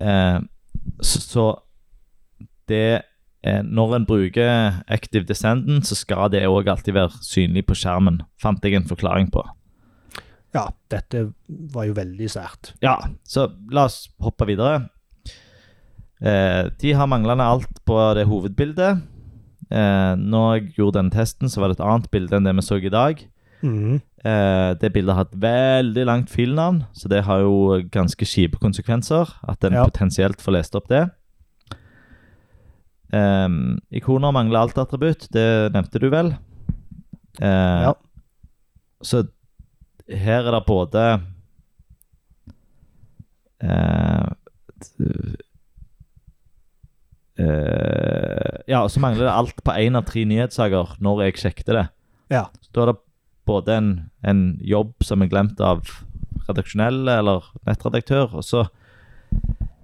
Eh, så, så det eh, Når en bruker Active Descendant, så skal det òg alltid være synlig på skjermen. Fant jeg en forklaring på. Ja, dette var jo veldig sært. Ja, så la oss hoppe videre. Eh, de har manglende alt på det hovedbildet. Eh, når jeg gjorde denne testen, så var det et annet bilde enn det vi så i dag. Mhm. Eh, det bildet har et veldig langt filnavn, så det har jo ganske kjipe konsekvenser at en Ja. potensielt får lest opp det. Ehm, ikoner mangler alt attributt, det nevnte du vel? Eh, Ja. Så her er det både eh, t- eh, Ja, og så mangler det alt på én av tre nyhetssaker når jeg sjekket det. Ja. Så da er det både en, en jobb som er glemt av redaksjonelle eller nettredaktør, og så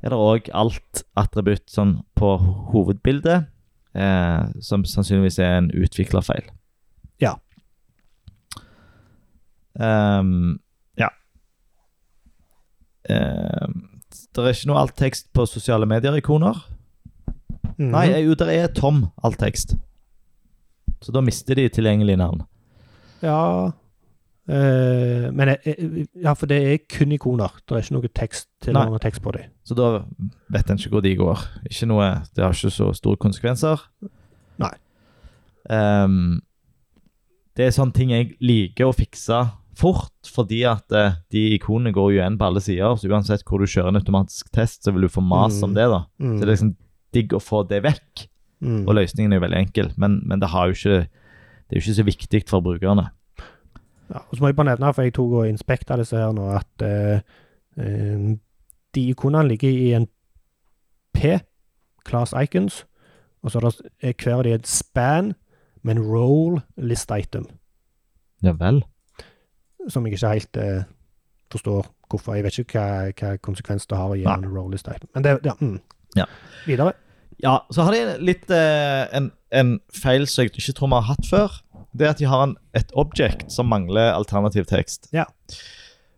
er det òg alt attributt sånn på hovedbildet, eh, som sannsynligvis er en utviklerfeil. Ja. Ehm, ja. Ehm, det er ikke noe alt tekst på sosiale medier-ikoner. Mhm. Nei, jo, det er tom alt tekst. Så da mister de tilgjengelig navn. Ja eh, Men jeg- jeg- Ja, for det er kun ikoner. Det er ikke noe tekst til Nei. noen tekst på dem. Så da vet en ikke hvor de går. Ikke noe, det har ikke så store konsekvenser. Nei. Ehm, det er sånne ting jeg liker å fikse fort, fordi at eh, de ikonene går jo igjen på alle sider. Så uansett hvor du kjører en automatisk test, så vil du få mas Mm. om det. da. Mm. Så det er liksom digg å få det vekk. mm. Og løsningen er jo veldig enkel, men, men det, har jo ikke, det er jo ikke så viktig for brukerne. ja, og så må jeg bare nevne, for jeg tok og inspekta disse her nå, at eh, eh, de ikonene ligger i en P, class icons, og så er det er hver av de et span med en roll list item, Ja vel. som jeg ikke helt eh, forstår hvorfor. Jeg vet ikke hva, hva konsekvens det har å gi Nei. en roll list item. Men det ja, mm. Ja. Videre. Ja, så har de litt eh, en, en feil som jeg ikke tror vi har hatt før. Det er at de har en, et object som mangler alternativ tekst. Ja.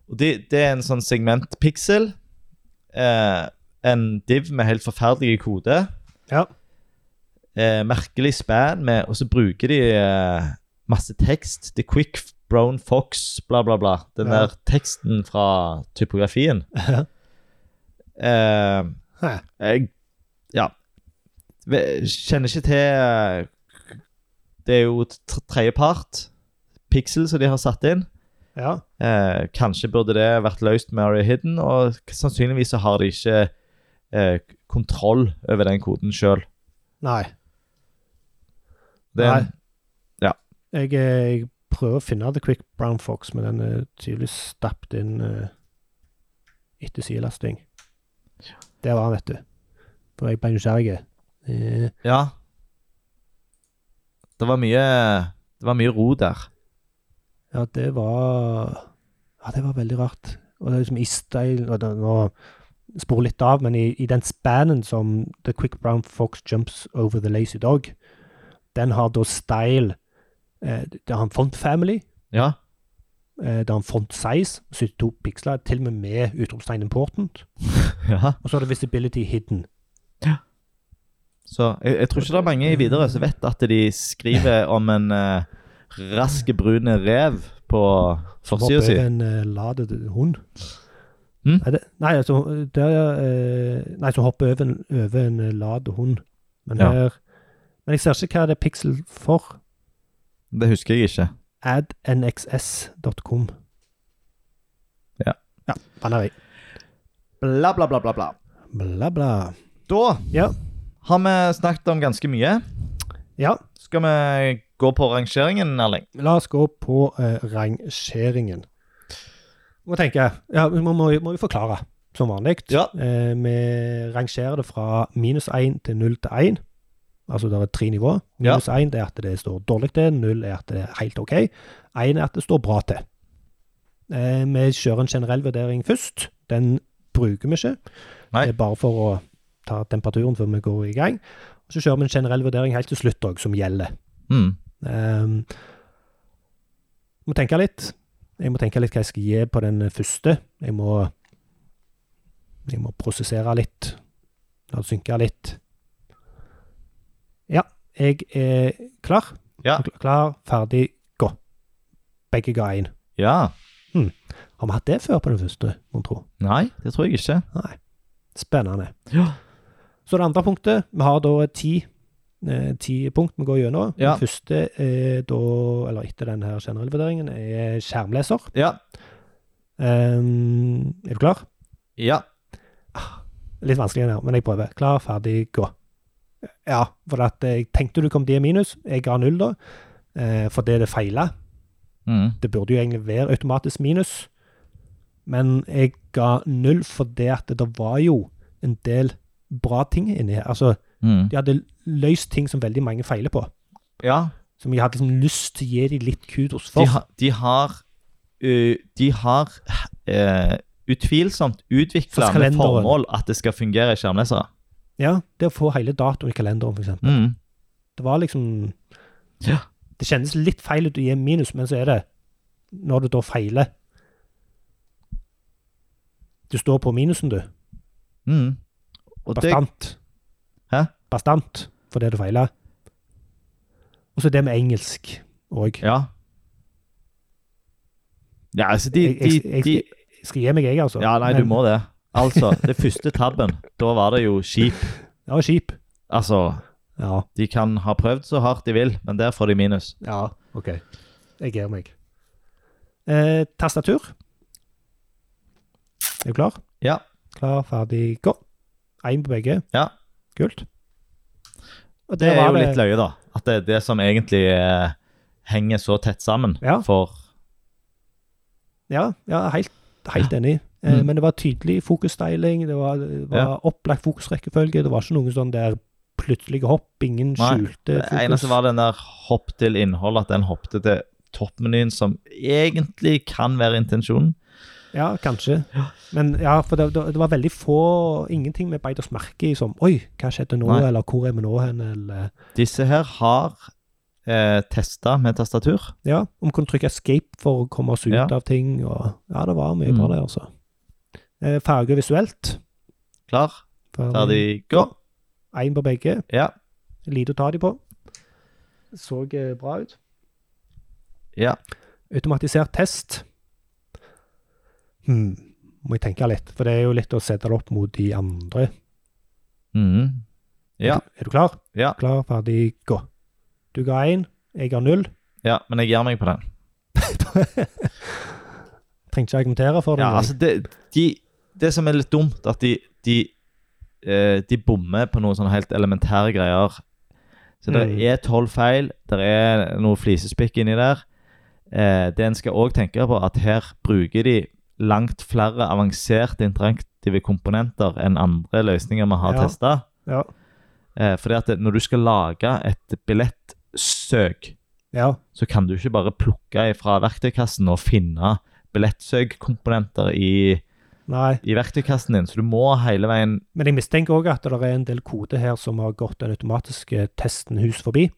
Og det, det er en sånn segmentpixel. Eh, en div med helt forferdelige kode. Ja. Eh, merkelig span med Og så bruker de eh, masse tekst. The Quick Brown Fox, bla, bla, bla. Den Ja. der teksten fra typografien. eh, Hæ. jeg ja, ve- kjenner ikke til eh, Det er jo tr- tredjepart, Pixel, som de har satt inn. Ja. Eh, kanskje burde det vært løst med Area Hidden, og k- sannsynligvis så har de ikke eh, k- kontroll over den koden sjøl. Nei. Nei. Det, Jeg, eh, jeg prøver å finne The Quick Brown Fox, men den er tydeligvis stappet inn eh, etter sidelasting. Der var han, vet du. For jeg ble nysgjerrig. Eh, Ja. Det var mye Det var mye ro der. Ja, det var Ja, det var veldig rart. Og det er liksom i style og det, Nå sporer litt av, men i, i den spannen som The Quick Brown Fox Jumps Over The Lazy Dog, den har da style eh, Det har en font family, Ja. eh, det har en font size, 72 piksler, til og med med utropstegn important, ja. og så er det visibility hidden. Så jeg, jeg tror ikke det er mange i Widerøe som vet at de skriver om en uh, rask brun rev på Som forsida si. hopper over En eh, ladet hund. Mm? Nei, det, nei, altså, det, eh, nei, som hopper over en, over en eh, ladet hund. Men Ja. her Men jeg ser ikke hva det er pixel for. Det husker jeg ikke. Adnxs.com. Ja. ja. Banner i. Bla, bla, bla, bla, bla. Bla, bla. Da Ja. har vi snakket om ganske mye. Ja, Skal vi gå på rangeringen, Erling? la oss gå på eh, rangeringen. Må tenke Ja, vi må, må, må jo forklare, som vanlig. Ja. Eh, vi rangerer det fra minus 1 til 0 til 1. Altså det er tre nivåer. Ja. Minus 1 er at det står dårlig til, 0 er at det er helt OK, 1 er at det står bra til. Eh, vi kjører en generell vurdering først. Den bruker vi ikke. Nei. Det er bare for å ta temperaturen før vi går i gang. Og så kjører vi en generell vurdering helt til slutt òg, som gjelder. Mm. Um, må tenke litt. Jeg må tenke litt hva jeg skal gi på den første. Jeg må Jeg må prosessere litt. La det synke litt. Ja, jeg er klar. Ja. Klar, ferdig, gå. Begge ga én. Ja. Har vi hatt det før på den første, mon tro? Nei, det tror jeg ikke. Nei. Spennende. Ja. Så det andre punktet Vi har da ti, eh, ti punkt vi går gjennom. Ja. Den første er da, eller etter den her generelle vurderingen, er skjermleser. Ja. Ehm, er du klar? Ja. Litt vanskelig den her, men jeg prøver. Klar, ferdig, gå. Ja, for at jeg tenkte du kom til minus. Jeg ga null, da. Eh, fordi det feila. Mm. Det burde jo egentlig være automatisk minus, men jeg ga null fordi at det var jo en del bra ting inni her. Altså, Mm. de hadde løst ting som veldig mange feiler på. Ja. Som jeg hadde liksom lyst til å gi dem litt kudos De, for. ha, de har ø, De har eh, utvilsomt utvikla For med kalenderen. formål at det skal fungere i skjermlesere. ja, Det å få hele datoen i kalenderen, for eksempel. Mm. Det var liksom Ja. Det kjennes litt feil ut å gi minus, men så er det Når du da feiler Du står på minusen, du. Mm. Og det, Bastant. Hæ? Bastant for det du feiler. Og så det med engelsk òg. ja. ja, altså de, Jeg, de, jeg, jeg, de skal- jeg skal gi meg, jeg, altså. Ja, nei, du Men må det. Altså, det første tabben, da var det jo skip. Det var kjip. Altså, Ja. de kan ha prøvd så hardt de vil, men der får de minus. ja. OK. Jeg gir meg. Eh, tastatur. Er du klar? Ja. Klar, ferdig, gå. Én på begge. Ja. Kult. Og Det der er var jo litt løye, da. At det er det som egentlig eh, henger så tett sammen Ja. for Ja, ja helt, helt enig. Eh, Mm. Men det var tydelig fokusstyling, det var, det var Ja. opplagt fokusrekkefølge. Det var ikke noen sånn der plutselige hopp, ingen Nei, skjulte Det fokus. eneste var den der hopp til innhold, at den hoppte til toppmenyen, som egentlig kan være intensjonen. Ja, kanskje. Men ja, for det, det, det var veldig få Ingenting vi beit oss merke i som Oi, hva skjedde nå? Nei. Eller hvor er vi nå hen? Eller Disse her har eh, testa med tastatur. Ja, om vi kunne trykke escape for å komme oss ut Ja. av ting. Og, ja, det var mye Mm. bra, det, altså. Eh, farge visuelt. Klar, ferdig, gå. Én på begge. Ja. Lite å ta de på. Så eh, bra ut. Ja. Automatisert test. Hmm. Må jeg tenke litt, for det er jo litt å sette det opp mot de andre. Mhm. Ja. Er, du, er du klar? Ja. Klar, ferdig, gå. Du ga én, jeg ga null. ja, men jeg gir meg på den. Trengte ikke argumentere for det. Ja, altså det, de, det som er litt dumt, at de, de, eh, de bommer på noen sånne helt elementære greier. Så det Mm. er tolv feil, det er noe flisespikk inni der. Eh, det en skal òg tenke på, at her bruker de langt flere avanserte interaktive komponenter enn andre løsninger vi har Ja. testet testa. Ja. Eh, fordi at når du skal lage et billettsøk, ja. så kan du ikke bare plukke fra verktøykassen og finne billettsøkkomponenter i, Nei. i verktøykassen din. Så du må hele veien Men jeg mistenker òg at det er en del kode her som har gått den automatiske testen hus forbi.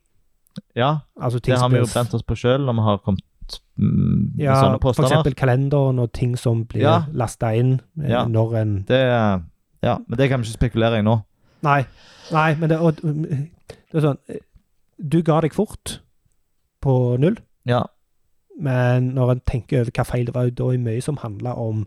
Ja, Altså ting det har som vi jo blir- brent oss på sjøl når vi har kommet mm, med ja, sånne for påstander. eksempel kalenderen og ting som blir Ja. lastet lasta inn eh, Ja. når en Det, ja, men det kan vi ikke spekulere i nå. Nei, nei, men det, og, det er sånn eh, Du ga deg fort på null, Ja, men når en tenker over hva feil det var, da er det mye som handla om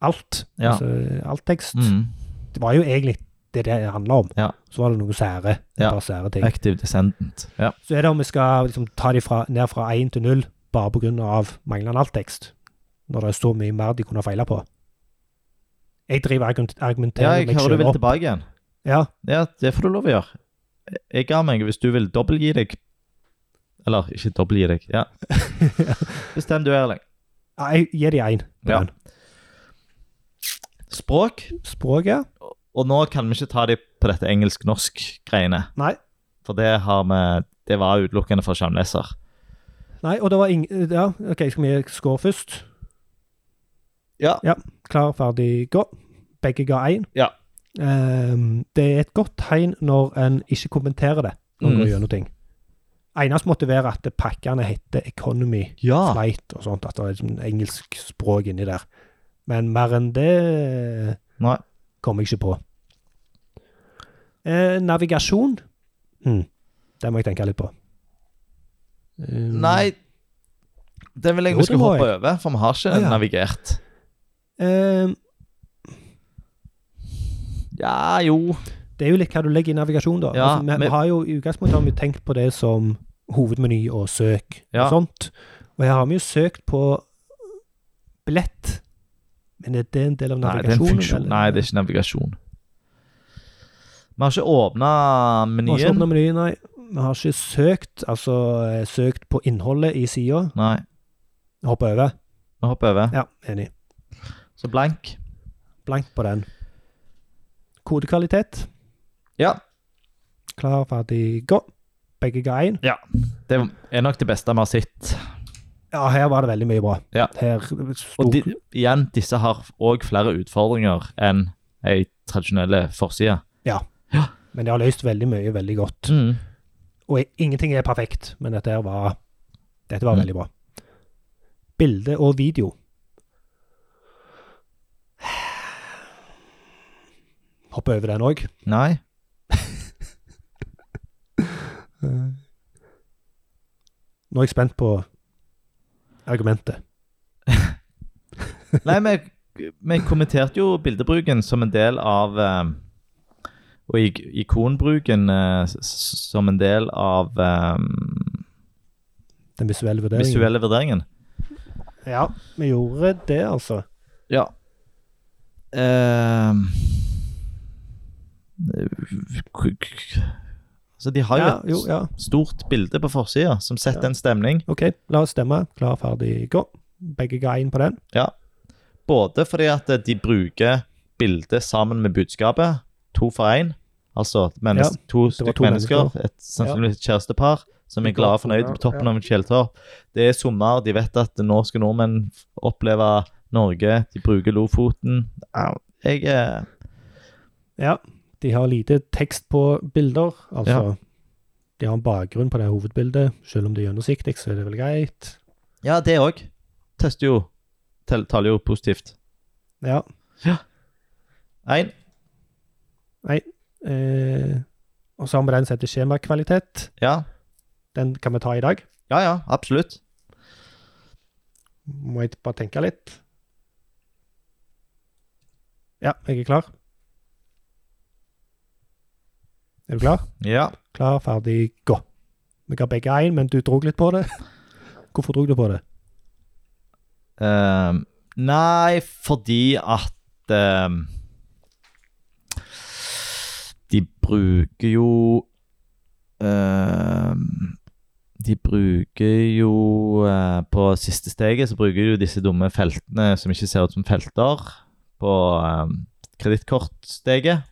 alt. Ja. Altså alt tekst. mm, Det var jo egentlig det det handla om. Ja. Så var det noen sære, et Ja. par sære ting. Active Descendant. Ja. Så er det om vi skal liksom, ta de fra, ned fra 1 til 0 bare pga. manglende alttekst, når det er så mye mer de kunne feile på. Jeg driver og argument- ja, argumenterer jeg hører du vil tilbake igjen. Ja, Ja, det får du lov å gjøre. Jeg ga meg hvis du vil dobbeltgi deg. Eller ikke dobbeltgi deg. Ja. Bestem du, Erling. ja, jeg gir de 1. Ja. Språk. Språket? Og nå kan vi ikke ta de på dette engelsk-norsk-greiene. Nei. For det har vi Det var utelukkende for skjermleser. Nei, og det var ingen Ja, OK, skal vi gi score først? Ja. Klar, ferdig, gå. Begge ga 1. Ja. Ehm, det er et godt tegn når en ikke kommenterer det, når en Mm. går gjennom ting. Eneste måtte være at pakkene heter Economy. Ja. flight og sånt, at det er liksom engelsk språk inni der. Men mer enn det Nei. kommer jeg ikke på. Eh, navigasjon. Hm. Det må jeg tenke litt på. Um, Nei. Den vil jeg Jo, vi skal det må hoppe over, for vi har ikke Å, ja. navigert. eh, Ja, jo. det er jo litt hva du legger i navigasjon, da. Ja, altså, vi, men- vi har jo i utgangspunktet har vi tenkt på det som hovedmeny og søk Ja. og sånt. Og her har vi jo søkt på billett. Men er det en del av Nei, det er en navigasjonen? funksjon. Nei, det er ikke navigasjon. Vi har ikke åpna Vi har ikke menyen. åpnet menyen, nei. Vi har ikke søkt, altså eh, søkt på innholdet i sida. Nei, Hoppe over. vi hopper over. Ja, enig. Så blank. Blankt på den. Kodekvalitet. Ja. Klar, ferdig, gå. Begge ga én. Det er nok det beste vi har sett. Ja, her var det veldig mye bra. Ja. Her sto Og de, igjen, disse har òg flere utfordringer enn ei tradisjonelle forside. Men de har løst veldig mye veldig godt. Mm. Og i- ingenting er perfekt, men dette her var Dette var Mm. veldig bra. Bilde og video. Hoppe over den òg. Nei. Nå er jeg spent på argumentet. Nei, vi, vi kommenterte jo bildebruken som en del av eh, Og ik ikonbruken eh, s- s- som en del av eh, Den visuelle vurderingen. visuelle vurderingen. Ja, vi gjorde det, altså. Ja. Uh, så altså, de har jo Ja, et jo, ja. stort bilde på forsida som setter Ja. en stemning. OK, la oss stemme. Klar, ferdig, gå. Begge ga inn på den. Både fordi at de bruker bildet sammen med budskapet, to for én. Altså mennes Ja, to stykker to mennesker, mennesker. et sannsynligvis et kjærestepar, som er glade og fornøyde på toppen Ja. av en fjelltopp. Det er sommer, de vet at nå skal nordmenn f- oppleve Norge, de bruker Lofoten. Ja, Jeg eh, er Ja. De har lite tekst på bilder, altså. De har en bakgrunn på det hovedbildet. Selv om det er gjennomsiktig, så er det vel greit. Ja, det òg. Tester jo tel- Taler jo positivt. Ja. Én. Eh, og så har vi den som heter skjemakvalitet. Ja. Den kan vi ta i dag. ja, ja, absolutt. Må jeg bare tenke litt? Ja, jeg er klar. Er du klar? Ja. Klar, ferdig, gå. Vi ga begge én, men du drog litt på det. Hvorfor drog du på det? Ehm, nei, fordi at ehm, De bruker jo ehm, De bruker jo eh, På siste steget så bruker de jo disse dumme feltene som ehm, ikke ser ut som felter, på um, kredittkortsteget.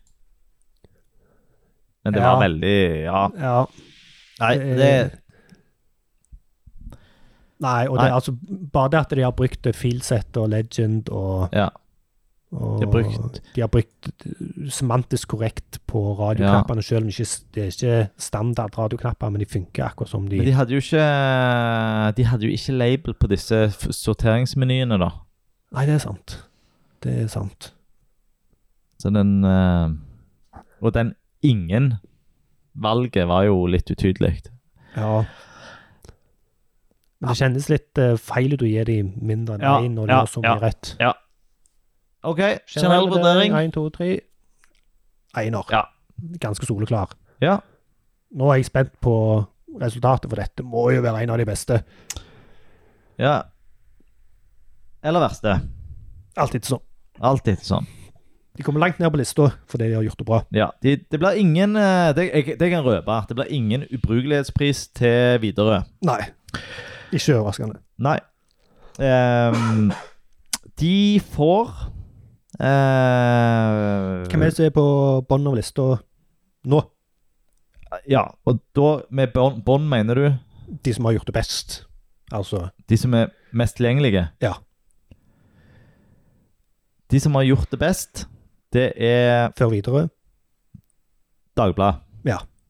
Men det Ja. var veldig Ja. Ja. eh, Nei, det Nei, og det, Nei. altså, bare det at de har brukt det Fieldset og Legend og, Ja. og De har brukt- de har brukt eh, semantisk korrekt på radioknappene, selv om det ikke, det er ikke standard radioknapper, men de funker akkurat som de, Men de hadde jo ikke De hadde jo ikke label på disse f- sorteringsmenyene, da. Nei, det er sant. Det er sant. Så den eh, Og den ingen valget var jo litt utydelig. Ja. Men det kjennes litt eh, feil ut å gi dem mindre enn Ja, én når de ja, har så mye ja. rett. OK, generell vurdering. Én, to, tre. Einer. Ja. Ganske soleklar. Ja. Nå er jeg spent på resultatet, for dette må jo være en av de beste. ja. Eller verste. Alltid sånn. Alltid sånn. De kommer langt ned på lista fordi de har gjort det bra. Ja. De, det blir ingen eh, det, jeg, det kan jeg røpe. Det blir ingen ubrukelighetspris til Widerøe. Nei. Ikke overraskende. Nei. Ehm, de får eh, Hvem er det som er på bunnen av lista nå? Ja, og da med bånd bånd mener du De som har gjort det best. Altså de som er mest tilgjengelige? Ja. De som har gjort det best, det er før videre Dagbladet.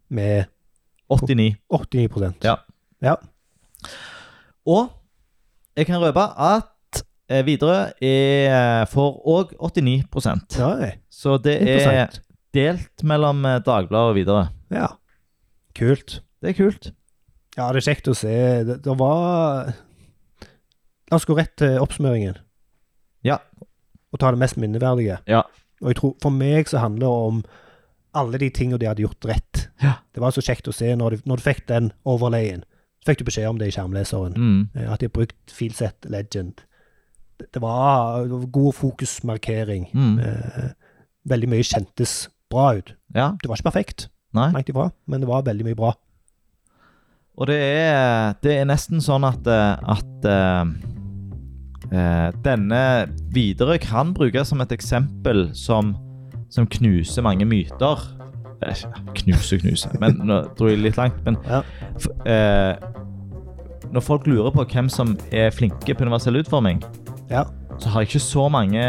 med 89. 89 Ja. Og jeg kan røpe at eh, Widerøe er- eh, får òg 89 Nei, Så det er interessant. delt mellom eh, Dagbladet og Widerøe. Eh, Ja. Kult. Det er kult. Ja, det er kjekt å se. Det, det var La oss gå rett til oppsummeringen. Ja. Og ta det mest minneverdige. Ja. Og jeg tror, for meg så handler det om alle de tingene de hadde gjort rett. Ja. Det var så kjekt å se når du, når du fikk den overlayen. Så fikk du beskjed om det i skjermleseren. Mm. eh, At de har brukt Feelset Legend. Det, det, var, det var god fokusmarkering. Mm. Eh, veldig mye kjentes bra ut. Ja. Det var ikke perfekt, Nei. langt ifra, men det var veldig mye bra. Og det er, det er nesten sånn at, eh, at eh, eh, denne videre kan brukes som et eksempel som, som knuser mange myter. Eh, Knuse, knuse, men nå dro jeg litt langt. Men Ja. f, eh, når folk lurer på hvem som er flinke på universell utforming, Ja. så har jeg ikke så mange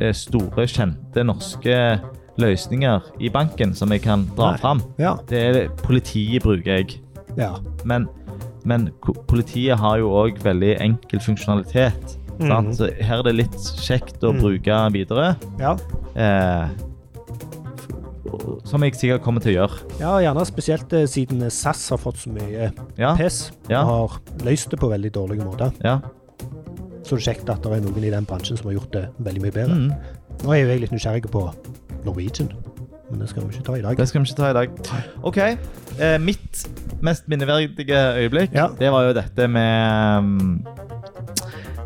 eh, store, kjente norske løsninger i banken som jeg kan dra Nei. fram. Ja. Det er politiet bruker jeg. ja. Men, men ko- politiet har jo òg veldig enkel funksjonalitet. Sant? Mhm. Så her er det litt kjekt å Mhm. bruke videre. ja. Eh, f- som jeg sikkert kommer til å gjøre. Ja, gjerne spesielt eh, siden SAS har fått så mye Ja. pes. Ja. og Har løst det på veldig dårlige måter. ja. Så det er kjekt at det er noen i den bransjen som har gjort det veldig mye bedre. Mhm. Nå er jo jeg litt nysgjerrig på Norwegian, men det skal vi ikke ta i dag. Det skal vi ikke ta i dag. OK. Eh, mitt mest minneverdige øyeblikk, Ja. det var jo dette med mm,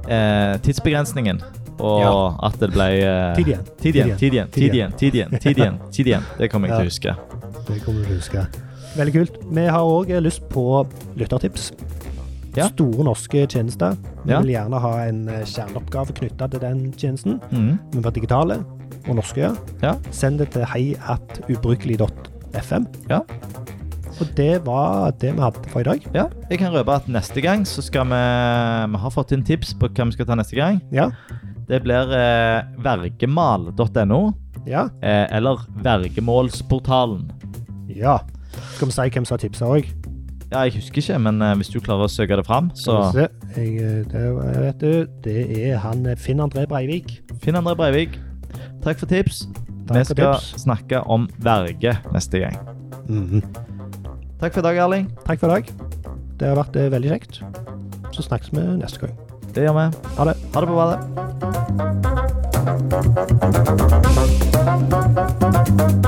eh, tidsbegrensningen. Og Ja. at det ble eh, Tid igjen. Tid igjen, tid igjen, tid igjen. Tid igjen, tid igjen, tid igjen. Det kommer jeg Ja. til å huske. Det kommer du til å huske. Veldig kult. Vi har òg lyst på lyttertips. Ja. Store norske tjenester. Vi Ja. vil gjerne ha en eh, kjerneoppgave knytta til den tjenesten. Mhm. Vi var digitale og norske. ja. Ja. Send det til heiatubrukelig.fm. Ja. Og det var det vi hadde for i dag. Ja, jeg kan røpe at neste gang så skal vi Vi har fått inn tips på hva vi skal ta neste gang. Ja. Det blir eh, vergemal.no Ja. eh, eller Vergemålsportalen. ja. Skal vi si hvem som har tipsa òg? Ja, jeg husker ikke, men eh, hvis du klarer å søke det fram, så Jeg, eh, det, jeg vet du, det er han eh, Finn André Breivik. finn André Breivik. Takk for tips. Takk vi for skal tips. snakke om verge neste gang. Mhm. Takk for i dag, Erling. Takk for i dag. Det har vært eh, veldig kjekt. Så snakkes vi neste gang. Det gjør vi. Ha det. Ha det på badet.